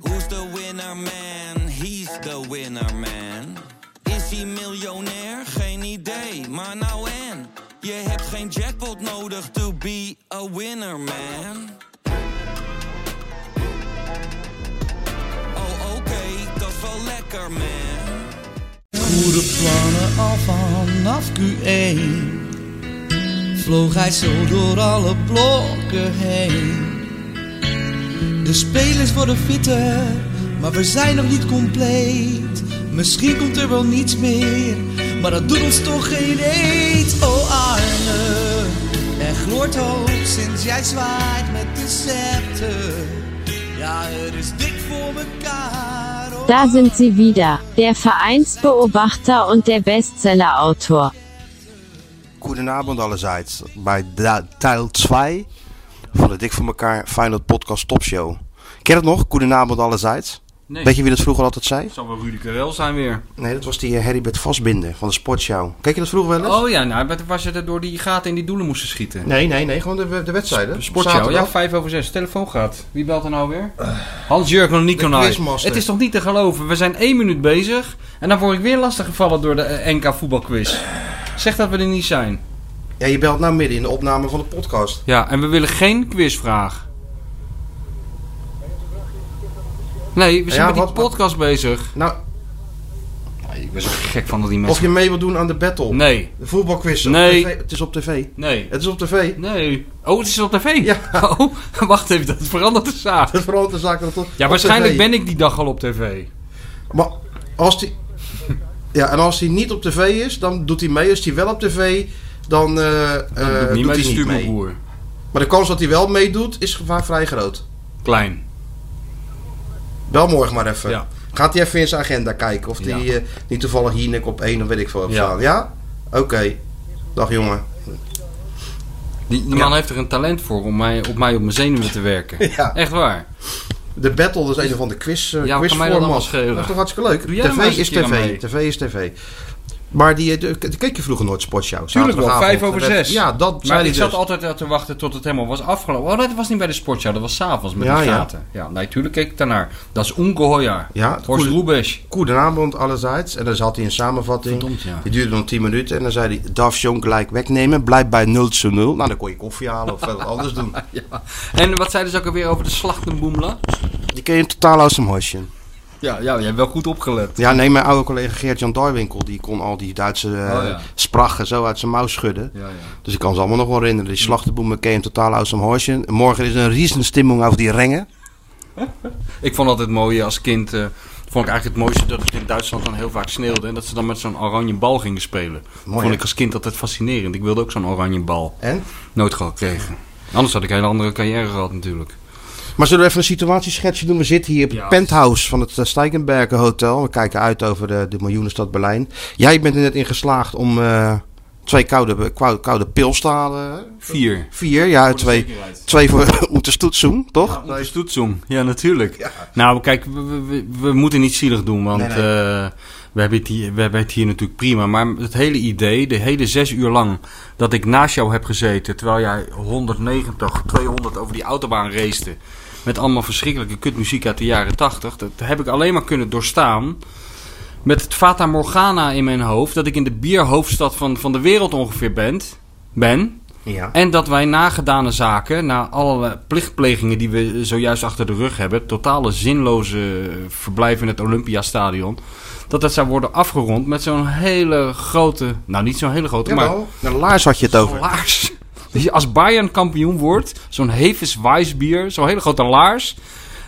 Who's the winner man? He's the winner man. Is hij miljonair? Geen idee, maar nou en. Je hebt geen jackpot nodig to be a winner man. Oh oké, dat is wel lekker man. Goede plannen al vanaf Q1 Vloog hij zo door alle blokken heen De spelers worden fitter, maar we zijn nog niet compleet Misschien komt er wel niets meer, maar dat doet ons toch geen eet Oh Arne, er gloort hoop sinds jij zwaait met de scepter Ja, het is dik voor mekaar oh Da sind sie wieder, der Vereinsbeobachter und der Bestsellerautor. Goedenavond allerseits bij da- Teil 2 van de Dik voor elkaar Feyenoord Podcast Top Show. Ken je dat nog? Goedenavond allerseits. Nee. Weet je wie dat vroeger altijd zei? Het zal wel Rudy Karel zijn weer. Nee, dat was die eh, Heribert Vastbinder van de Sportshow. Kijk je dat vroeger wel eens? Oh ja, nou, maar toen was het er door die gaten in die doelen moesten schieten. Nee, nee, nee, gewoon de, de wedstrijden. Sportshow, ja, Zaterdag. 5 over 6. Telefoon gaat. Wie belt er nou weer? Hans-Jurgen de Nikonai. quizmaster. Het is toch niet te geloven? We zijn één minuut bezig en dan word ik weer lastiggevallen door de eh, NK voetbalquiz. Zeg dat we er niet zijn. ja, je belt nou midden in de opname van de podcast. Ja, en we willen geen quizvraag. Nee, we zijn Ja, met die wat- wat- podcast bezig. Nou, Ik ben zo gek van dat die of mensen... je mee wil doen aan de battle. Nee, De voetbalquiz. op Nee. tv. Het is op tv. nee, Het is op tv. nee. Oh, het is op tv? Ja. Oh, wacht even, dat verandert de zaak. Dat verandert de zaak dat het op- Ja, op waarschijnlijk tv. ben ik die dag al op tv. Maar als die... Ja, en als hij niet op tv is, dan doet hij mee. Als hij wel op tv, dan, eh, eh, doet niet doet mee, hij niet mee. stuurboer. Maar de kans dat hij wel meedoet, is gevaar vrij groot. Klein. Wel morgen maar even. Ja. Gaat hij even in zijn agenda kijken of hij Ja. eh, niet toevallig hier nek op één of weet ik veel op Ja. staan. Ja? Oké. Dag jongen. Die die man heeft er een talent voor om mij op, mij op mijn zenuwen te werken. Ja. Echt waar. De battle dat is een van de quiz eh, Ja, wat kan mij dat quizformat. allemaal schelen? Dat is toch hartstikke leuk. Doe jij er maar eens TV is een keer aan tv. mee. TV is tv. Maar die, eh, de, de- keek je vroeger nooit sportshow? Tuurlijk wel, Zaterdagavond. vijf over De wed- zes. Ja, dat zei Maar hij ik dus. zat altijd eh, te wachten tot het helemaal was afgelopen. Oh, dat was niet bij de sportshow, dat was s'avonds met Ja, die ja. gaten. Ja, natuurlijk keek ik daarnaar. Dat is ongehoor. Ja, Horst goed. Rubesch. Goedenavond allerzijds. En dan zat hij een samenvatting. Verdomd, ja. Die duurde nog 10 minuten. En dan zei hij, Daf Jong gelijk wegnemen. Blijf bij 0 0. Nou, dan kon je koffie halen of wat anders doen. Ja. En wat zeiden ze ook alweer over de slachtenboemla? Die ken je totaal uit zijn hosje. Ja, ja, jij hebt wel goed opgelet. Ja, nee, mijn oude collega Geert-Jan Darwinkel, die kon al die Duitse eh, Oh, ja. sprachen zo uit zijn mouw schudden. Ja, ja. Dus ik kan ze allemaal nog wel herinneren. Die slachtenboemen ken je totaal uit zijn hosje. Morgen is een riesenstimmung over die rengen. Ik vond altijd mooi als kind. eh, vond ik eigenlijk het mooiste dat het in Duitsland dan heel vaak sneeuwde. En dat ze dan met zo'n oranje bal gingen spelen. Mooi, vond hè? ik als kind altijd fascinerend. Ik wilde ook zo'n oranje bal. En? Nooit gekregen. Anders had ik een hele andere carrière gehad natuurlijk. Maar zullen we even een situatieschetsje doen? We zitten hier op het Ja. penthouse van het eh, Steigenbergen Hotel. We kijken uit over de, de miljoenenstad Berlijn. Jij bent er net in geslaagd om eh, twee koude, kou- koude pils te halen. hè? Vier. Vier, ja, twee, twee voor om te stoetsen, toch? Ja, is Stoetsum. Ja, natuurlijk. Nou, kijk, we, we- we, we moeten niet zielig doen, want Nee, nee. eh, we, hebben het hier, we hebben het hier natuurlijk prima. Maar het hele idee, de hele zes uur lang dat ik naast jou heb gezeten, terwijl jij 190, 200 over die autobaan racete, met allemaal verschrikkelijke kutmuziek uit de jaren 80, dat heb ik alleen maar kunnen doorstaan. Met het Fata Morgana in mijn hoofd, dat ik in de bierhoofdstad van, van de wereld ongeveer ben. ben. Ja. En dat wij na gedane zaken, na alle plichtplegingen die we zojuist achter de rug hebben, totale zinloze verblijf in het Olympiastadion, dat dat zou worden afgerond met zo'n hele grote, nou niet zo'n hele grote, maar Jawel, de laars had je het over. laars. Dus als Bayern kampioen wordt, zo'n Heves Weissbier, zo'n hele grote laars.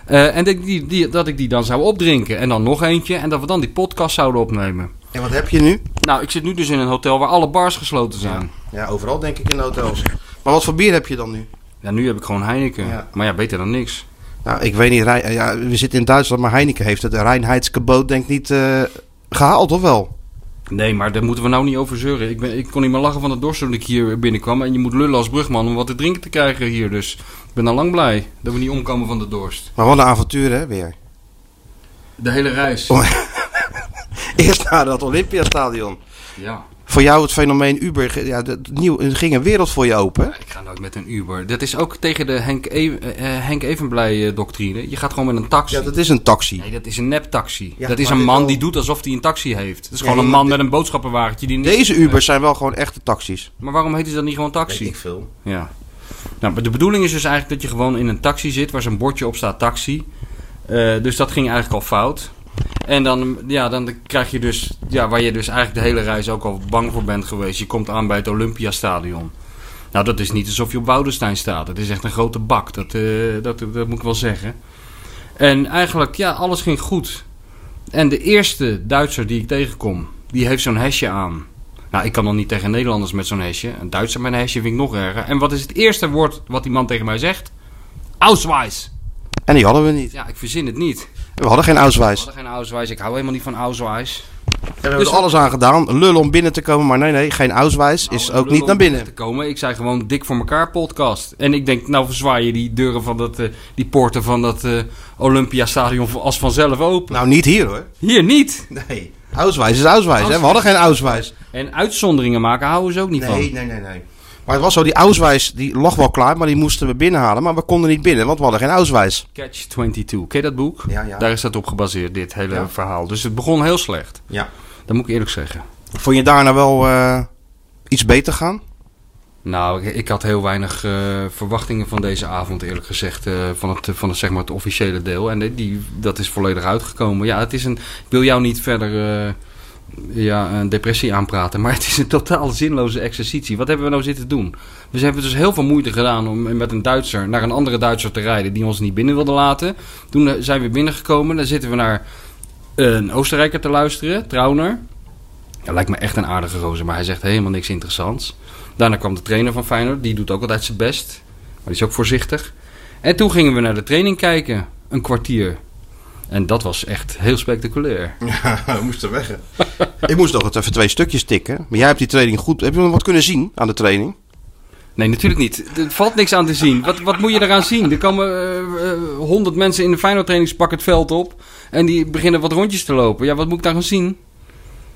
eh, en dat ik, die, die, dat ik die dan zou opdrinken. En dan nog eentje. En dat we dan die podcast zouden opnemen. En wat heb je nu? Nou, ik zit nu dus in een hotel waar alle bars gesloten zijn. Ja, overal denk ik in de hotels. Maar wat voor bier heb je dan nu? Ja, nu heb ik gewoon Heineken. Ja. Maar ja, beter dan niks. Nou, ik weet niet. Rijn- ja, we zitten in Duitsland, maar Heineken heeft het Reinheidsgebot denk ik niet eh, gehaald, of wel? Nee, maar daar moeten we nou niet over zeuren. Ik, ben, ik kon niet meer lachen van de dorst toen ik hier binnenkwam. En je moet lullen als brugman om wat te drinken te krijgen hier. Dus ik ben al lang blij dat we niet omkomen van de dorst. Maar wat een avontuur, hè, weer. De hele reis. Oh. Eerst naar dat Olympiastadion. Ja. voor jou het fenomeen Uber, ja, dat, nieuw, er ging een wereld voor je open. hè? Ik ga nooit met een Uber. Dat is ook tegen de Henk, e eh, Henk Evenblij-doctrine. Je gaat gewoon met een taxi. Ja, dat is een taxi. Nee, dat is een neptaxi. Ja, dat is maar een dit man al- die doet alsof hij een taxi heeft. Dat is Ja, gewoon een maar man dit- met een boodschappenwagentje. Die niks- Deze Ubers zijn wel gewoon echte taxis. Maar waarom heet het dan niet gewoon taxi? veel. Ja. Nou, maar de bedoeling is dus eigenlijk dat je gewoon in een taxi zit waar zo'n bordje op staat taxi. Eh, dus dat ging eigenlijk al fout. En dan, ja, dan krijg je dus, ja, waar je dus eigenlijk de hele reis ook al bang voor bent geweest. Je komt aan bij het Olympiastadion. Nou, dat is niet alsof je op Woudenstein staat. Het is echt een grote bak, dat, eh, dat, dat moet ik wel zeggen. En eigenlijk, ja, alles ging goed. En de eerste Duitser die ik tegenkom, die heeft zo'n hesje aan. Nou, ik kan nog niet tegen Nederlanders met zo'n hesje. Een Duitser met een hesje vind ik nog erger. En wat is het eerste woord wat die man tegen mij zegt? Ausweis. En die hadden we niet. Ja, ik verzin het niet. We We hadden geen Auswijs. hadden geen Ausweis. Ik hou helemaal niet van Ausweis. We hebben Dus- er alles aan gedaan. Lul om binnen te komen, maar nee, nee, geen Auswijs is Nou, ook lul niet om naar binnen. Te komen. Ik zei gewoon dik voor elkaar podcast. En ik denk, nou verzwaai je die deuren van dat, eh, die poorten van dat eh, Olympiastadion voor- als vanzelf open. Nou, niet hier hoor. Hier niet. Nee. Auswijs is Auswijs, hè? We hadden geen Auswijs. En uitzonderingen maken houden ze ook niet van. nee, nee, nee. Maar het was zo, die Auswijs die lag wel klaar, maar die moesten we binnenhalen. Maar we konden niet binnen, want we hadden geen Auswijs. Catch 22. Ken je dat boek? Ja, ja. Daar is dat op gebaseerd, dit hele Ja. verhaal. Dus het begon heel slecht. Ja. Dat moet ik eerlijk zeggen. Vond je daarna wel eh, iets beter gaan? Nou, ik, ik had heel weinig eh, verwachtingen van deze avond, eerlijk gezegd, eh, van, het, van het, zeg maar, het officiële deel. En die- die, dat is volledig uitgekomen. Ja, het is een. Ik wil jou niet verder eh, ja, een depressie aanpraten, maar het is een totaal zinloze exercitie. Wat hebben we nou zitten doen? We hebben dus heel veel moeite gedaan om met een Duitser naar een andere Duitser te rijden die ons niet binnen wilde laten. Toen eh, zijn we binnengekomen, dan zitten we naar een Oostenrijker te luisteren, Trauner. Ja, lijkt me echt een aardige roze, maar hij zegt helemaal niks interessants. Daarna kwam de trainer van Feyenoord. Die doet ook altijd zijn best. Maar die is ook voorzichtig. En toen gingen we naar de training kijken. Een kwartier. En dat was echt heel spectaculair. we moesten weg. ik moest nog het even twee stukjes tikken. Maar jij hebt die training goed. Heb je nog wat kunnen zien aan de training? Nee, natuurlijk niet. Er valt niks aan te zien. Wat, wat moet je eraan zien? Er komen eh, honderd mensen in de Feyenoord trainingspak het veld op. En die beginnen wat rondjes te lopen. Ja, wat moet ik daar gaan zien?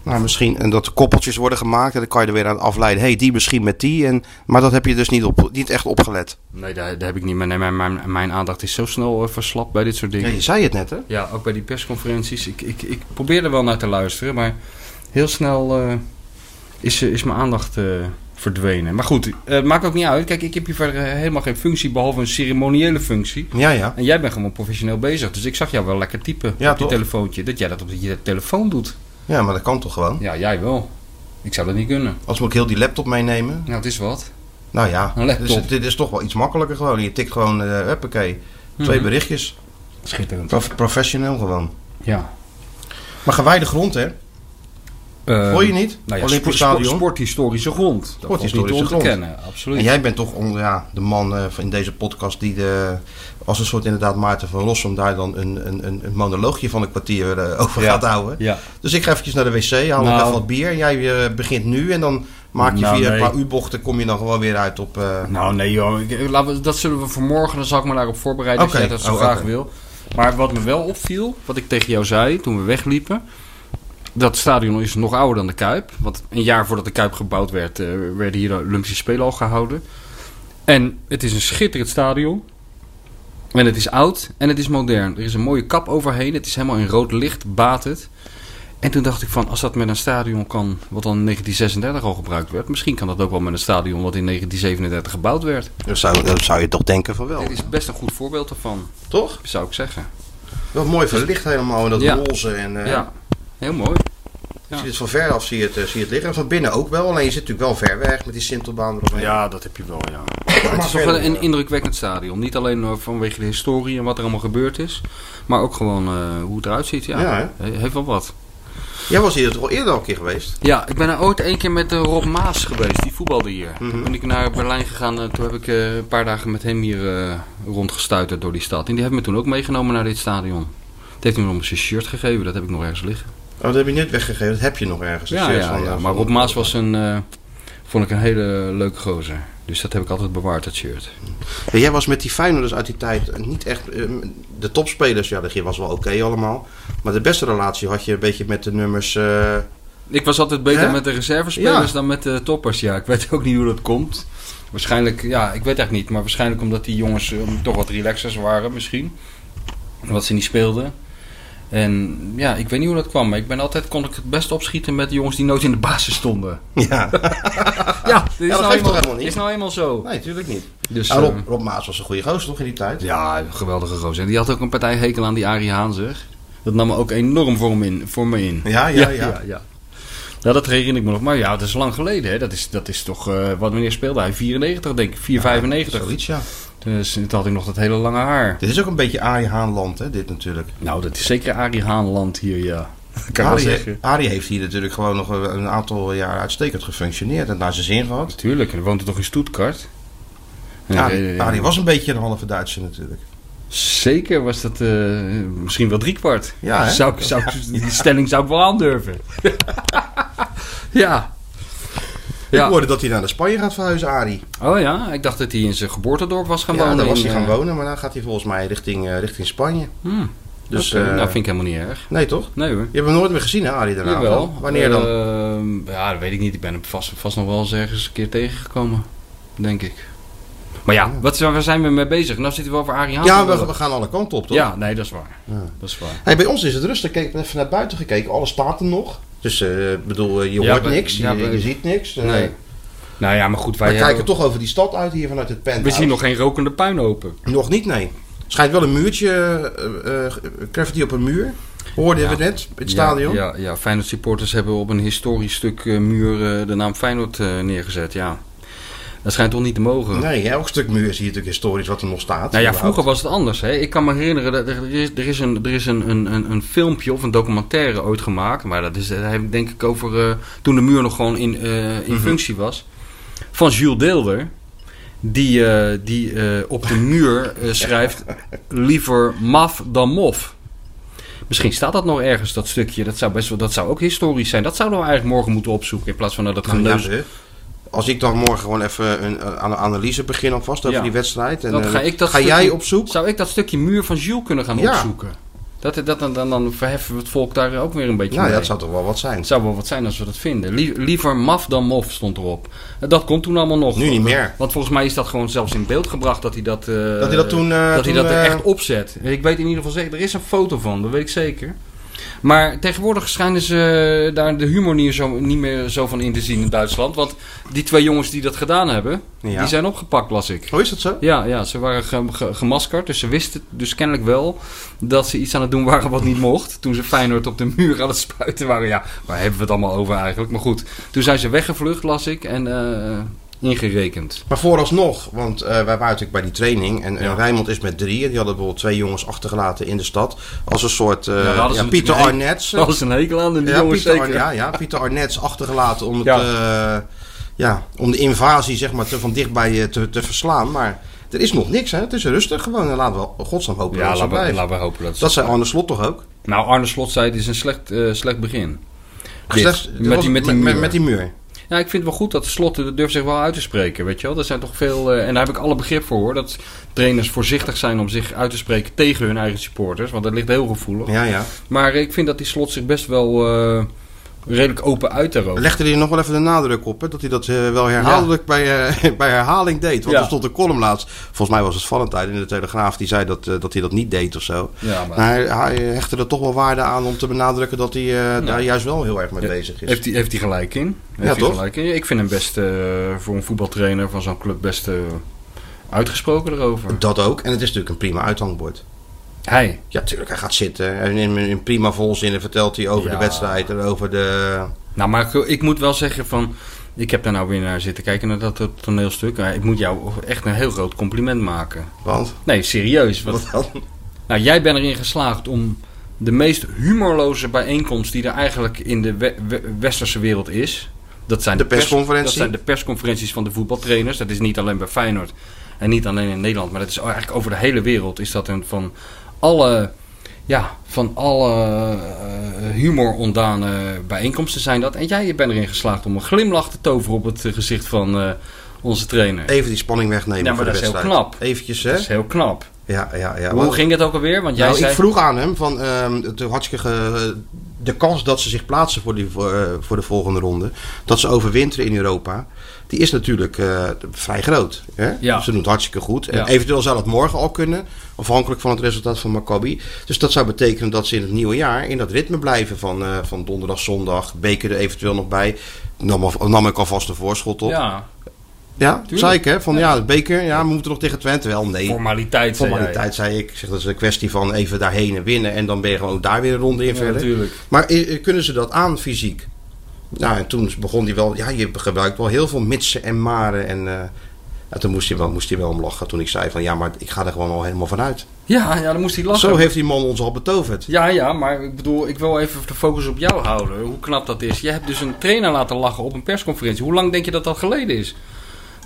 Nou, misschien. En dat er koppeltjes worden gemaakt. En dan kan je er weer aan afleiden. Hé, hey, die misschien met die. En, maar dat heb je dus niet, op, niet echt opgelet. Nee, daar, daar heb ik niet meer. Nee, mijn, mijn, mijn aandacht is zo snel eh, verslapt bij dit soort Ja, dingen. je zei het net, hè? Ja, ook bij die persconferenties. Ik, ik, ik probeer er wel naar te luisteren, maar heel snel eh, is, eh, is mijn aandacht eh, verdwenen. Maar goed, eh maakt ook niet uit. Kijk, ik heb hier verder eh, helemaal geen functie, behalve een ceremoniële functie. Ja, ja. En jij bent gewoon professioneel bezig, dus ik zag jou wel lekker typen Ja, op je toch? telefoontje. Dat jij dat op je telefoon doet. Ja, maar dat kan toch gewoon? Ja, jij wel. Ik zou dat niet kunnen. Als moet ik heel die laptop meenemen. Nou, het is wat. Nou ja, Een laptop. Dus, dit is toch wel iets makkelijker gewoon. Je tikt gewoon, eh huppakee, twee Mhm. berichtjes. Schitterend. Prof- professioneel gewoon. Ehm, Ja. Maar gewijde grond, hè? Eh, Hoor je niet? Nou ja, Olympisch spo- spo- stadion. sporthistorische grond. Dat is niet te Sporthistorische grond. ontkennen, absoluut. En jij bent toch on- ja, de man eh, in deze podcast die de, als een soort inderdaad Maarten van Rossum daar dan een, een, een een monoloogje van een kwartier eh, over Ja. gaat houden. Ja. Dus ik ga eventjes naar de wc, haal nog Nou. even wat bier. En jij eh, begint nu en dan maak je Nou, via nee. een paar U-bochten kom je dan gewoon weer uit op... eh, Nou, nee joh. Ik- ik- laten we- dat zullen we voor morgen, dan zal ik me daarop voorbereiden als Oké. jij dat zo Oh, graag oké. wil. Maar wat me wel opviel, wat ik tegen jou zei toen we wegliepen... Dat stadion is nog ouder dan de Kuip. Want een jaar voordat de Kuip gebouwd werd, eh, werden hier de Olympische Spelen al gehouden. En het is een schitterend stadion. En het is oud en het is modern. Er is een mooie kap overheen. Het is helemaal in rood licht, baat het. En toen dacht ik van, als dat met een stadion kan, wat dan in 1936 al gebruikt werd... misschien kan dat ook wel met een stadion wat in 1937 gebouwd werd. dat, zou, dat zou je toch denken van wel, Dit is best een goed voorbeeld ervan, toch? zou ik zeggen. Wat mooi verlicht helemaal en dat Ja. roze en... eh, Ja, heel mooi. Als je het van ver af zie je het, eh, zie je het liggen. En van binnen ook wel, alleen je zit natuurlijk wel ver weg met die Sintelbaan eromheen. dat heb je wel, ja. maar Het is toch wel verder, een eh, indrukwekkend stadion. Niet alleen eh, vanwege de historie en wat er allemaal gebeurd is, maar ook gewoon eh, hoe het eruit ziet. Ja, Ja, He- heeft wel wat. Jij was hier toch al eerder al een keer geweest? Ja, ik ben er ooit één keer met eh, Rob Maas geweest, die voetbalde hier. Toen ben ik naar Berlijn gegaan en toen heb ik eh, een paar dagen met hem hier eh rondgestuiterd door die stad. En die hebben me toen ook meegenomen naar dit stadion. Het heeft hij me nog eens zijn shirt gegeven, dat heb ik nog ergens liggen. Oh, dat heb je net weggegeven. Dat heb je eh, nog ergens. Ja, ja, ja, maar Rob Maas was een, eh, vond ik een hele leuke gozer. Dus dat heb ik altijd bewaard, dat shirt. Jij was met die Feyenoorders uit die tijd niet echt... eh, de topspelers, ja, dat was wel oké allemaal. Maar de beste relatie had je een beetje met de nummers... eh, Ik was altijd beter Hè? met de reservespelers Ja. dan met de toppers. Ja, ik weet ook niet hoe dat komt. Waarschijnlijk, ja, ik weet eigenlijk niet. Maar waarschijnlijk omdat die jongens eh, toch wat relaxers waren misschien. Wat ze niet speelden. En ja, ik weet niet hoe dat kwam. Maar ik ben altijd, kon ik het best opschieten met de jongens die nooit in de basis stonden. Ja, Ja, dit is, dat nou, geeft toch eenmaal, helemaal niet? is nou eenmaal zo. Nee, natuurlijk niet. Dus, Ah, Rob, ehm, Rob Maas was een goede gozer toch in die tijd? ja, een geweldige gozer. En die had ook een partij hekel aan die Arie Haan, zeg. Dat nam me ook enorm voor, hem in, voor me in. Ja, ja, ja. Nou, dat herinner ik me nog. Maar ja, dat is lang geleden. Hè. Dat, is, dat is toch... eh, wat wanneer speelde hij? 94, denk ik. 4,95. Zoiets, ja. dus toen had ik nog dat hele lange haar. Dit is ook een beetje Arie Haanland, hè, dit natuurlijk. Nou, dat is zeker Arie Haanland hier, ja. Dat kan ik wel Arie, zeggen. Arie heeft hier natuurlijk gewoon nog een een aantal jaar uitstekend gefunctioneerd en naar zijn zin gehad. Natuurlijk, hij woont toch in Stuttgart? En eh, ik weet- Arie, Arie was een beetje een halve Duitser natuurlijk. Zeker was dat eh, misschien wel driekwart. Ja, hè? zou, ik- zou, ik- Die stelling zou ik wel aandurven. ja. Ik ja. hoorde dat hij naar de Spanje gaat verhuizen, Arie. Oh ja, ik dacht dat hij in zijn geboortedorp was gaan Ja, wonen. daar was in, hij gaan eh, wonen, maar dan gaat hij volgens mij richting, eh, richting Spanje. hmm. Dus, Oké, eh, nou, vind ik helemaal niet erg. Nee, toch? Nee hoor. Je hebt hem nooit meer gezien, hè, Arie, daarna? Jawel. nou, Wanneer dan? Ehm, ja, dat weet ik niet. Ik ben hem vast, vast nog wel eens ergens een keer tegengekomen. Denk ik. Maar ja, wat, zijn- waar zijn we mee bezig? Nou zitten we over Arie Haan. ja, we, we gaan alle kanten op, toch? Ja, nee, dat is waar. Dat is waar. Hey, bij ons is het rustig. Kijk, ik ben even naar buiten gekeken. Alles staat er nog. Dus eh, ik bedoel, eh, je Ja, hoort we- niks, ja, je, we- je ziet niks. eh, Nee. Nou ja, maar goed. Wij we kijken hebben- toch over die stad uit hier vanuit het penthouse. We zien nog geen rokende puinhopen. Nog niet, nee. Schijnt wel een muurtje, eh, eh, graffiti op een muur. Hoorden Ja. we net in het stadion. Ja, ja, ja, Feyenoord supporters hebben op een historisch stuk eh, muur eh, de naam Feyenoord eh, neergezet. Ja. Dat schijnt toch niet te mogen. Nee, elk stuk muur is hier natuurlijk historisch wat er nog staat. Nou ja, überhaupt. vroeger was het anders. Hè? Ik kan me herinneren, dat er, er is, er is, een, er is een, een, een, een filmpje of een documentaire ooit gemaakt. Maar dat is dat heb ik denk ik over eh, toen de muur nog gewoon in, eh, in functie was. Van Jules Deelder. Die, eh, die eh, op de muur eh, schrijft liever maf dan mof. Misschien staat dat nog ergens, dat stukje. Dat zou, best wel, dat zou ook historisch zijn. Dat zouden we eigenlijk morgen moeten opzoeken. In plaats van nou, dat Nou, geneuzel. ja, als ik dan morgen gewoon even een, eh, aan een analyse begin alvast over Ja. die wedstrijd. En, Dan eh, ga ik dat ga stukje- jij op zoek? Zou ik dat stukje muur van Jules kunnen gaan Ja. opzoeken? Dat, dat, dan, dan, dan verheffen we het volk daar ook weer een beetje Nou ja, mee. dat zou toch wel wat zijn. Het zou wel wat zijn als we dat vinden. Lie- liever maf dan mof stond erop. Dat kon toen allemaal nog. Nu niet meer. Want volgens mij is dat gewoon zelfs in beeld gebracht dat hij dat... eh, Dat hij dat toen, eh, dat hij toen, dat er eh, echt opzet. Ik weet in ieder geval zeker, er is een foto van, dat weet ik zeker. Maar tegenwoordig schijnen ze eh, daar de humor niet, zo, niet meer zo van in te zien in Duitsland. Want die twee jongens die dat gedaan hebben, Ja. die zijn opgepakt, las ik. Hoe is dat zo? Ja, ja, ze waren ge- ge- gemaskerd, dus ze wisten dus kennelijk wel dat ze iets aan het doen waren wat niet mocht. Toen ze Feyenoord op de muur aan het spuiten waren. Ja, waar hebben we het allemaal over eigenlijk? Maar goed, toen zijn ze weggevlucht, las ik, en eh, ingerekend. Maar vooralsnog, want eh, wij waren natuurlijk bij die training. En, en Ja. Rijnmond is met drie. En die hadden bijvoorbeeld twee jongens achtergelaten in de stad. Als een soort eh, daar ja, hadden ze Pieter natuurlijk- Arnets. Dat is een hekel aan, en die Ja, jongens Pieter, zeker. Arn- ja, ja, Pieter Arnets achtergelaten om, het, Ja. eh, ja, om de invasie zeg maar, te, van dichtbij eh, te, te verslaan. Maar er is nog niks. Hè? Het is rustig gewoon. En laten we godsnaam hopen Ja, dat ze laten we, blijven. laten we hopen dat ze... Dat zei Arne Slot toch ook? Nou, Arne Slot zei, het is een slecht, eh, slecht begin. Dit, Slechts- dat met, was- die, met die muur. Met, met die muur. Ja, ik vind het wel goed dat Slot eh, durft zich wel uit te spreken, weet je wel. Er zijn toch veel, eh, en daar heb ik alle begrip voor hoor, dat trainers voorzichtig zijn om zich uit te spreken tegen hun eigen supporters, want dat ligt heel gevoelig. Ja, ja. Maar ik vind dat die Slot zich best wel eh, redelijk open uit daarover. Legde hij nog wel even de nadruk op, hè? dat hij dat eh, wel herhaaldelijk bij, eh, bij herhaling deed. Want Ja. er stond een column laatst, volgens mij was het Valentijn in de Telegraaf, die zei dat, eh, dat hij dat niet deed of zo. Ja, maar- maar hij, hij hechtte er toch wel waarde aan om te benadrukken dat hij eh, daar juist wel heel erg mee bezig is. Nou. Heeft hij heeft hij gelijk in? Heeft hij toch? Gelijk in? Ik vind hem best eh, voor een voetbaltrainer van zo'n club best eh, uitgesproken erover. Dat ook, en het is natuurlijk een prima uithangbord. Hij. Ja, tuurlijk, hij gaat zitten en in, in prima volzinnen vertelt hij over Ja. de wedstrijd en over de... Nou, maar ik, ik moet wel zeggen van... Ik heb daar nou weer naar zitten kijken, naar dat to- toneelstuk. Maar Ik moet jou echt een heel groot compliment maken. Want, Nee, serieus. Want, wat dan? nou, jij bent erin geslaagd om de meest humorloze bijeenkomst... die er eigenlijk in de we- we- westerse wereld is... Dat zijn De pers- persconferentie. dat zijn de persconferenties van de voetbaltrainers. Dat is niet alleen bij Feyenoord en niet alleen in Nederland. Maar dat is eigenlijk over de hele wereld. Is dat een van alle, ja, van alle eh, humor ontdane bijeenkomsten zijn dat. En jij bent erin geslaagd om een glimlach te toveren op het eh, gezicht van eh, onze trainer. Even die spanning wegnemen Ja, maar voor de dat is heel wedstrijd. knap. Eventjes, hè? Dat is heel knap. ja, ja, ja. Hoe ging het ook alweer? Want jij Nou, zei... Ik vroeg aan hem van ehm, het hartstikke ge- de kans dat ze zich plaatsen voor, die, voor, eh, voor de volgende ronde, dat ze overwinteren in Europa, die is natuurlijk eh, vrij groot. Hè? Ja. Ze doen het hartstikke goed. En Ja. eventueel zou dat morgen al kunnen, afhankelijk van het resultaat van Maccabi. Dus dat zou betekenen dat ze in het nieuwe jaar in dat ritme blijven van, eh, van donderdag, zondag, beker er eventueel nog bij. Nam, al- nam ik alvast een voorschot op. Ja, Ja, zei ik hè? Van ja, de beker, ja, we moeten nog tegen Twente. Wel, nee. formaliteit zei jij. Formaliteit, zei ik. Ik Zeg, dat is een kwestie van even daarheen en winnen. En dan ben je gewoon daar weer een ronde in Ja, verder. natuurlijk. Maar eh, eh, kunnen ze dat aan fysiek? Nou, en toen begon hij wel... Ja, je gebruikt wel heel veel mitsen en maren. En eh, ja, toen moest hij, wel, moest hij wel om lachen toen ik zei van... Ja, maar ik ga er gewoon al helemaal vanuit. Ja, ja, dan moest hij lachen. Zo heeft die man ons al betoverd. Ja, ja, maar ik bedoel, ik wil even de focus op jou houden. Hoe knap dat is. Je hebt dus een trainer laten lachen op een persconferentie. Hoe lang denk je dat dat geleden is?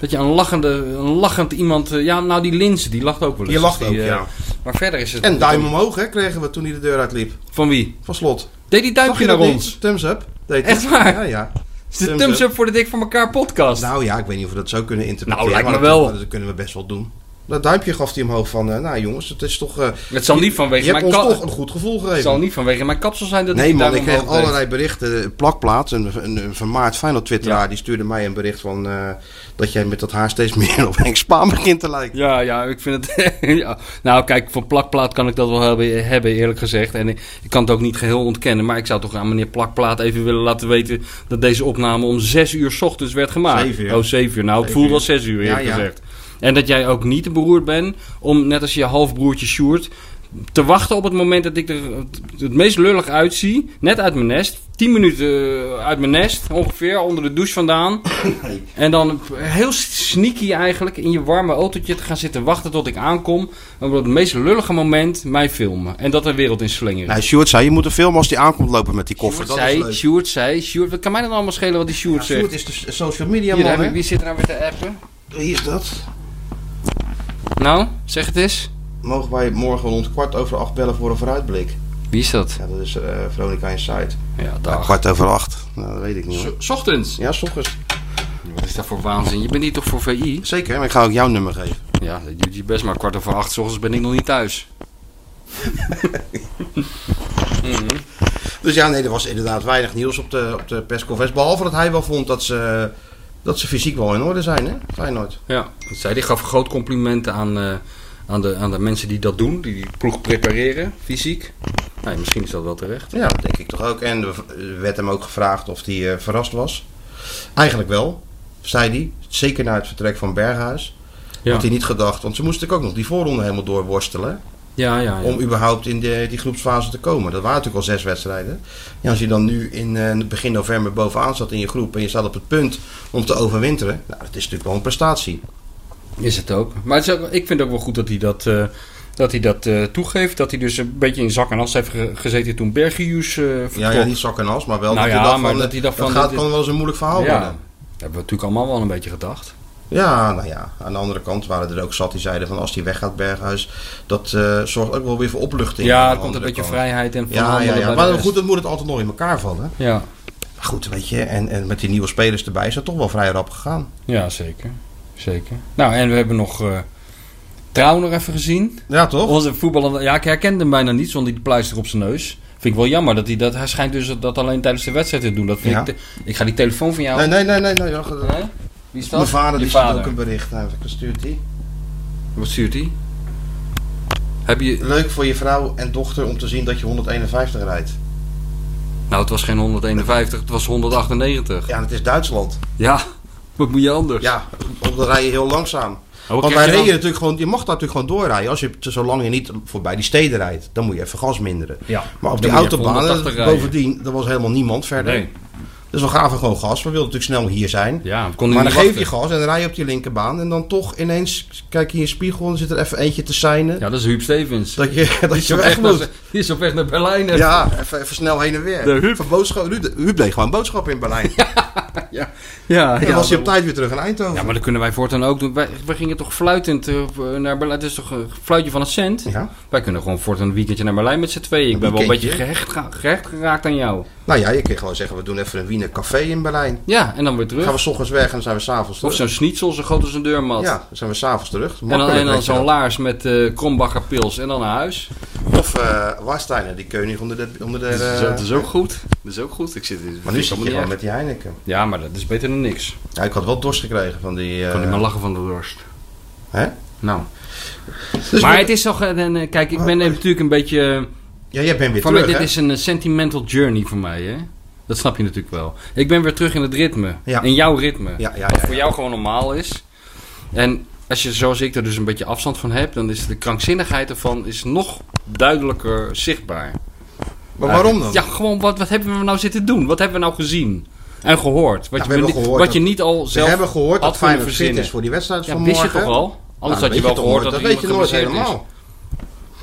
Dat je een, lachende, een lachend iemand... eh, Ja, nou die Linse, die lacht ook wel eens. Die lacht Dus ook, eh, ja. Maar verder is het... En duim omhoog hè, kregen we toen hij de deur uitliep. Van wie? Van slot. Deed die Zag duimpje je naar dat ons? niet? Thumbs up. deed hij. Echt waar? Ja, ja. De thumbs up voor de Dik voor elkaar podcast. Nou ja, ik weet niet of we dat zo kunnen interpreteren. Nou, lijkt me maar dat- wel. Dat, kunnen we best wel doen. Dat duimpje gaf hij omhoog van, eh, nou jongens, het is toch... eh, het zal niet vanwege je hebt mijn ons kap- toch een goed gevoel Het zal gegeven. niet vanwege mijn kapsel zijn dat Nee die man, duim ik kreeg omhoog deed. allerlei berichten. Plakplaats, een, een, een vermaard Feyenoord twitteraar, Ja. die stuurde mij een bericht van... eh, dat jij met dat haar steeds meer op Henk Spaan begint te lijken. Ja, ja, ik vind het. ja. Nou, kijk, van plakplaat kan ik dat wel hebben, hebben, eerlijk gezegd. En ik, ik kan het ook niet geheel ontkennen. Maar ik zou toch aan meneer Plakplaat even willen laten weten. dat deze opname om 6 uur 's ochtends werd gemaakt. Zeven uur. Oh, 7 uur. Nou, het Zeven voelde uur. wel 6 uur, eerlijk Ja, ja. gezegd. En dat jij ook niet te beroerd bent om, net als je halfbroertje Sjoerd. te wachten op het moment dat ik er het, het meest lullig uitzie. net uit mijn nest. 10 minuten eh, uit mijn nest, ongeveer, onder de douche vandaan. En dan heel sneaky eigenlijk in je warme autootje te gaan zitten wachten tot ik aankom. En op het meest lullige moment mij filmen. En dat de wereld in slingeren. Nou, Nee, Sjoerd zei, je moet een film als die aankomt lopen met die koffer. Sjoerd dat is zei, leuk. Sjoerd zei, Sjoerd, wat kan mij dan allemaal schelen wat die Sjoerd Ja, zegt? Sjoerd is de social media Hier, man, heb ik- hè? wie zit er nou weer te appen? Wie is dat? Nou, zeg het eens. Mogen wij morgen rond kwart over acht bellen voor een vooruitblik? Wie is dat? Ja, dat is eh Veronica Insight. Ja, Ja, dag. kwart over acht. Nou, dat weet ik niet hoor. S ochtends. Ja, s ochtends. Wat is dat voor waanzin? Je bent niet toch voor VI? Zeker, maar ik ga ook jouw nummer geven. Ja, dat doet je best, maar kwart over acht 's ochtends ben ik nog niet thuis. Dus ja, nee, er was inderdaad weinig nieuws op de, op de persconferentie. Behalve dat hij wel vond dat ze, dat ze fysiek wel in orde zijn, hè? Feyenoord. Ja, dat zei hij. Gaf groot complimenten aan, eh, aan, de, aan de mensen die dat doen. Die die ploeg prepareren, fysiek. Nee, misschien is dat wel terecht. Ja, dat denk ik toch ook. En er werd hem ook gevraagd of hij eh, verrast was. Eigenlijk wel, zei hij. Zeker na het vertrek van Berghuis. Had hij niet gedacht, want ze moesten ook nog die voorronde helemaal doorworstelen. hè, ja, ja. ja. Om überhaupt in de, die groepsfase te komen. Dat waren natuurlijk al zes wedstrijden. Ja, als je dan nu in eh, begin november bovenaan zat in je groep. en je staat op het punt om te overwinteren. Nou, dat is natuurlijk wel een prestatie. Is het ook. Maar het is ook- ik vind ook wel goed dat hij dat, eh, dat, hij dat eh, toegeeft. Dat hij dus een beetje in zak en as heeft ge- gezeten toen Bergius eh Ja, vertrok. ja, niet zak en as, maar wel Nou dat, ja, hij dacht maar van, dat hij dacht dat van, gaat, dit is- kan wel eens een moeilijk verhaal Ja. worden. Dat hebben we natuurlijk allemaal wel een beetje gedacht. Ja, nou ja. Aan de andere kant waren er ook zat die zeiden van als die weggaat Berghuis, dat eh, zorgt ook wel weer voor opluchting. Aan de ja, er komt een andere beetje kant. vrijheid en van Ja, ja, handelen ja. bij Maar de rest. goed, dan moet het altijd nog in elkaar vallen. Ja. Maar goed, weet je, en, en met die nieuwe spelers erbij is dat toch wel vrij rap gegaan. ja, zeker. Zeker. Nou, en we hebben nog eh Trouw nog even gezien. Ja, toch? Onze voetballer, ja, ik herkende hem bijna niet zonder die pleister op zijn neus. Vind ik wel jammer dat hij dat. Hij schijnt dus dat alleen tijdens de wedstrijd te doen. Dat vind Ja. ik, te- ik ga die telefoon van jou. Nee, nee, nee, nee. nee, wacht, eh, Hè? Wie is dat? Mijn vader Je die stuurt ook een bericht. Nou, Wat stuurt die? Wat stuurt hij? Heb je. Leuk voor je vrouw en dochter om te zien dat je 151 rijdt. Nou, het was geen 151, het was 198. Ja, en het is Duitsland. Ja, wat moet je anders? Ja, op de rij je heel langzaam. wat Want krijg wij je dan? reden natuurlijk gewoon, je mag daar natuurlijk gewoon doorrijden. Als je te- zolang je niet voorbij die steden rijdt, dan moet je even gas minderen. Ja, Maar op dan die moet je even autobanen, 180 rijden. bovendien, er was helemaal niemand verder. Nee. Dus we gaven gewoon gas. We wilden natuurlijk snel hier zijn. Ja, we konden maar niet dan geef je wachten. gas en dan rij je op die linkerbaan. En dan toch ineens kijk je in je spiegel en zit er even eentje te seinen. Ja, dat is Huub Stevens. Dat je, dat je Op weg weg naar- moet. die is op weg naar Berlijn. hè? Ja, even, even snel heen en weer. De Huub. Van boodschap, Huub, Huub deed gewoon boodschappen in Berlijn. ja, ja, dan was hij op tijd weer terug in Eindhoven. Ja, maar dat kunnen wij voortaan ook doen. Wij, wij gingen toch fluitend eh, naar Berlijn. Het is toch een fluitje van een cent? Ja. Wij kunnen gewoon voortaan een weekendje naar Berlijn met z'n tweeën. Ik Een ben wel een beetje weekendje? gehecht, ga- gehecht geraakt aan jou. Nou ja, je kan gewoon zeggen, we doen even een Wiener café in Berlijn. Ja, en dan weer Dan terug. gaan we s ochtends weg en dan zijn we s'avonds terug. Of zo'n schnitzel, zo groot als een deurmat. Ja, dan zijn we s'avonds terug. En dan, Makkelijk, en dan weet je zo'n wel. laars met eh krombakkerpils en dan naar huis. Of eh Warsteiner, die keuning onder de... Onder de eh, ook goed. Dat is ook goed. Ik zit maar nu zit je gewoon met die Heineken. Ja, maar dat is beter dan niks. Ik Ja, ik had wel dorst gekregen van die... eh, kan niet meer lachen van de dorst. hè? Nou. Dus maar we- Oh. het is toch... eh, dan, eh, Kijk, ik ben eh, natuurlijk een beetje... eh, Ja, jij bent weer Van terug, mij, dit hè? is een eh, sentimental journey voor mij, hè? Dat snap je natuurlijk wel. Ik ben weer terug in het ritme. Ja. In jouw ritme. Ja, ja, ja, Wat voor ja. jou gewoon normaal is. En als je zoals ik er dus een beetje afstand van hebt... dan is de krankzinnigheid ervan is nog duidelijker zichtbaar. Maar waarom dan? Ja, gewoon wat, wat hebben we nou zitten doen? Wat hebben we nou gezien? En gehoord? Wat, Ja, we je, hebben niet- gehoord wat dat- je niet al Ze zelf hebben gehoord had dat kunnen Feyenoord fit verzinnen. is voor die wedstrijd Ja, van wist morgen. je toch al? Anders Nou, had je dat wel weet toch nooit. gehoord dat, Dat weet je nooit helemaal.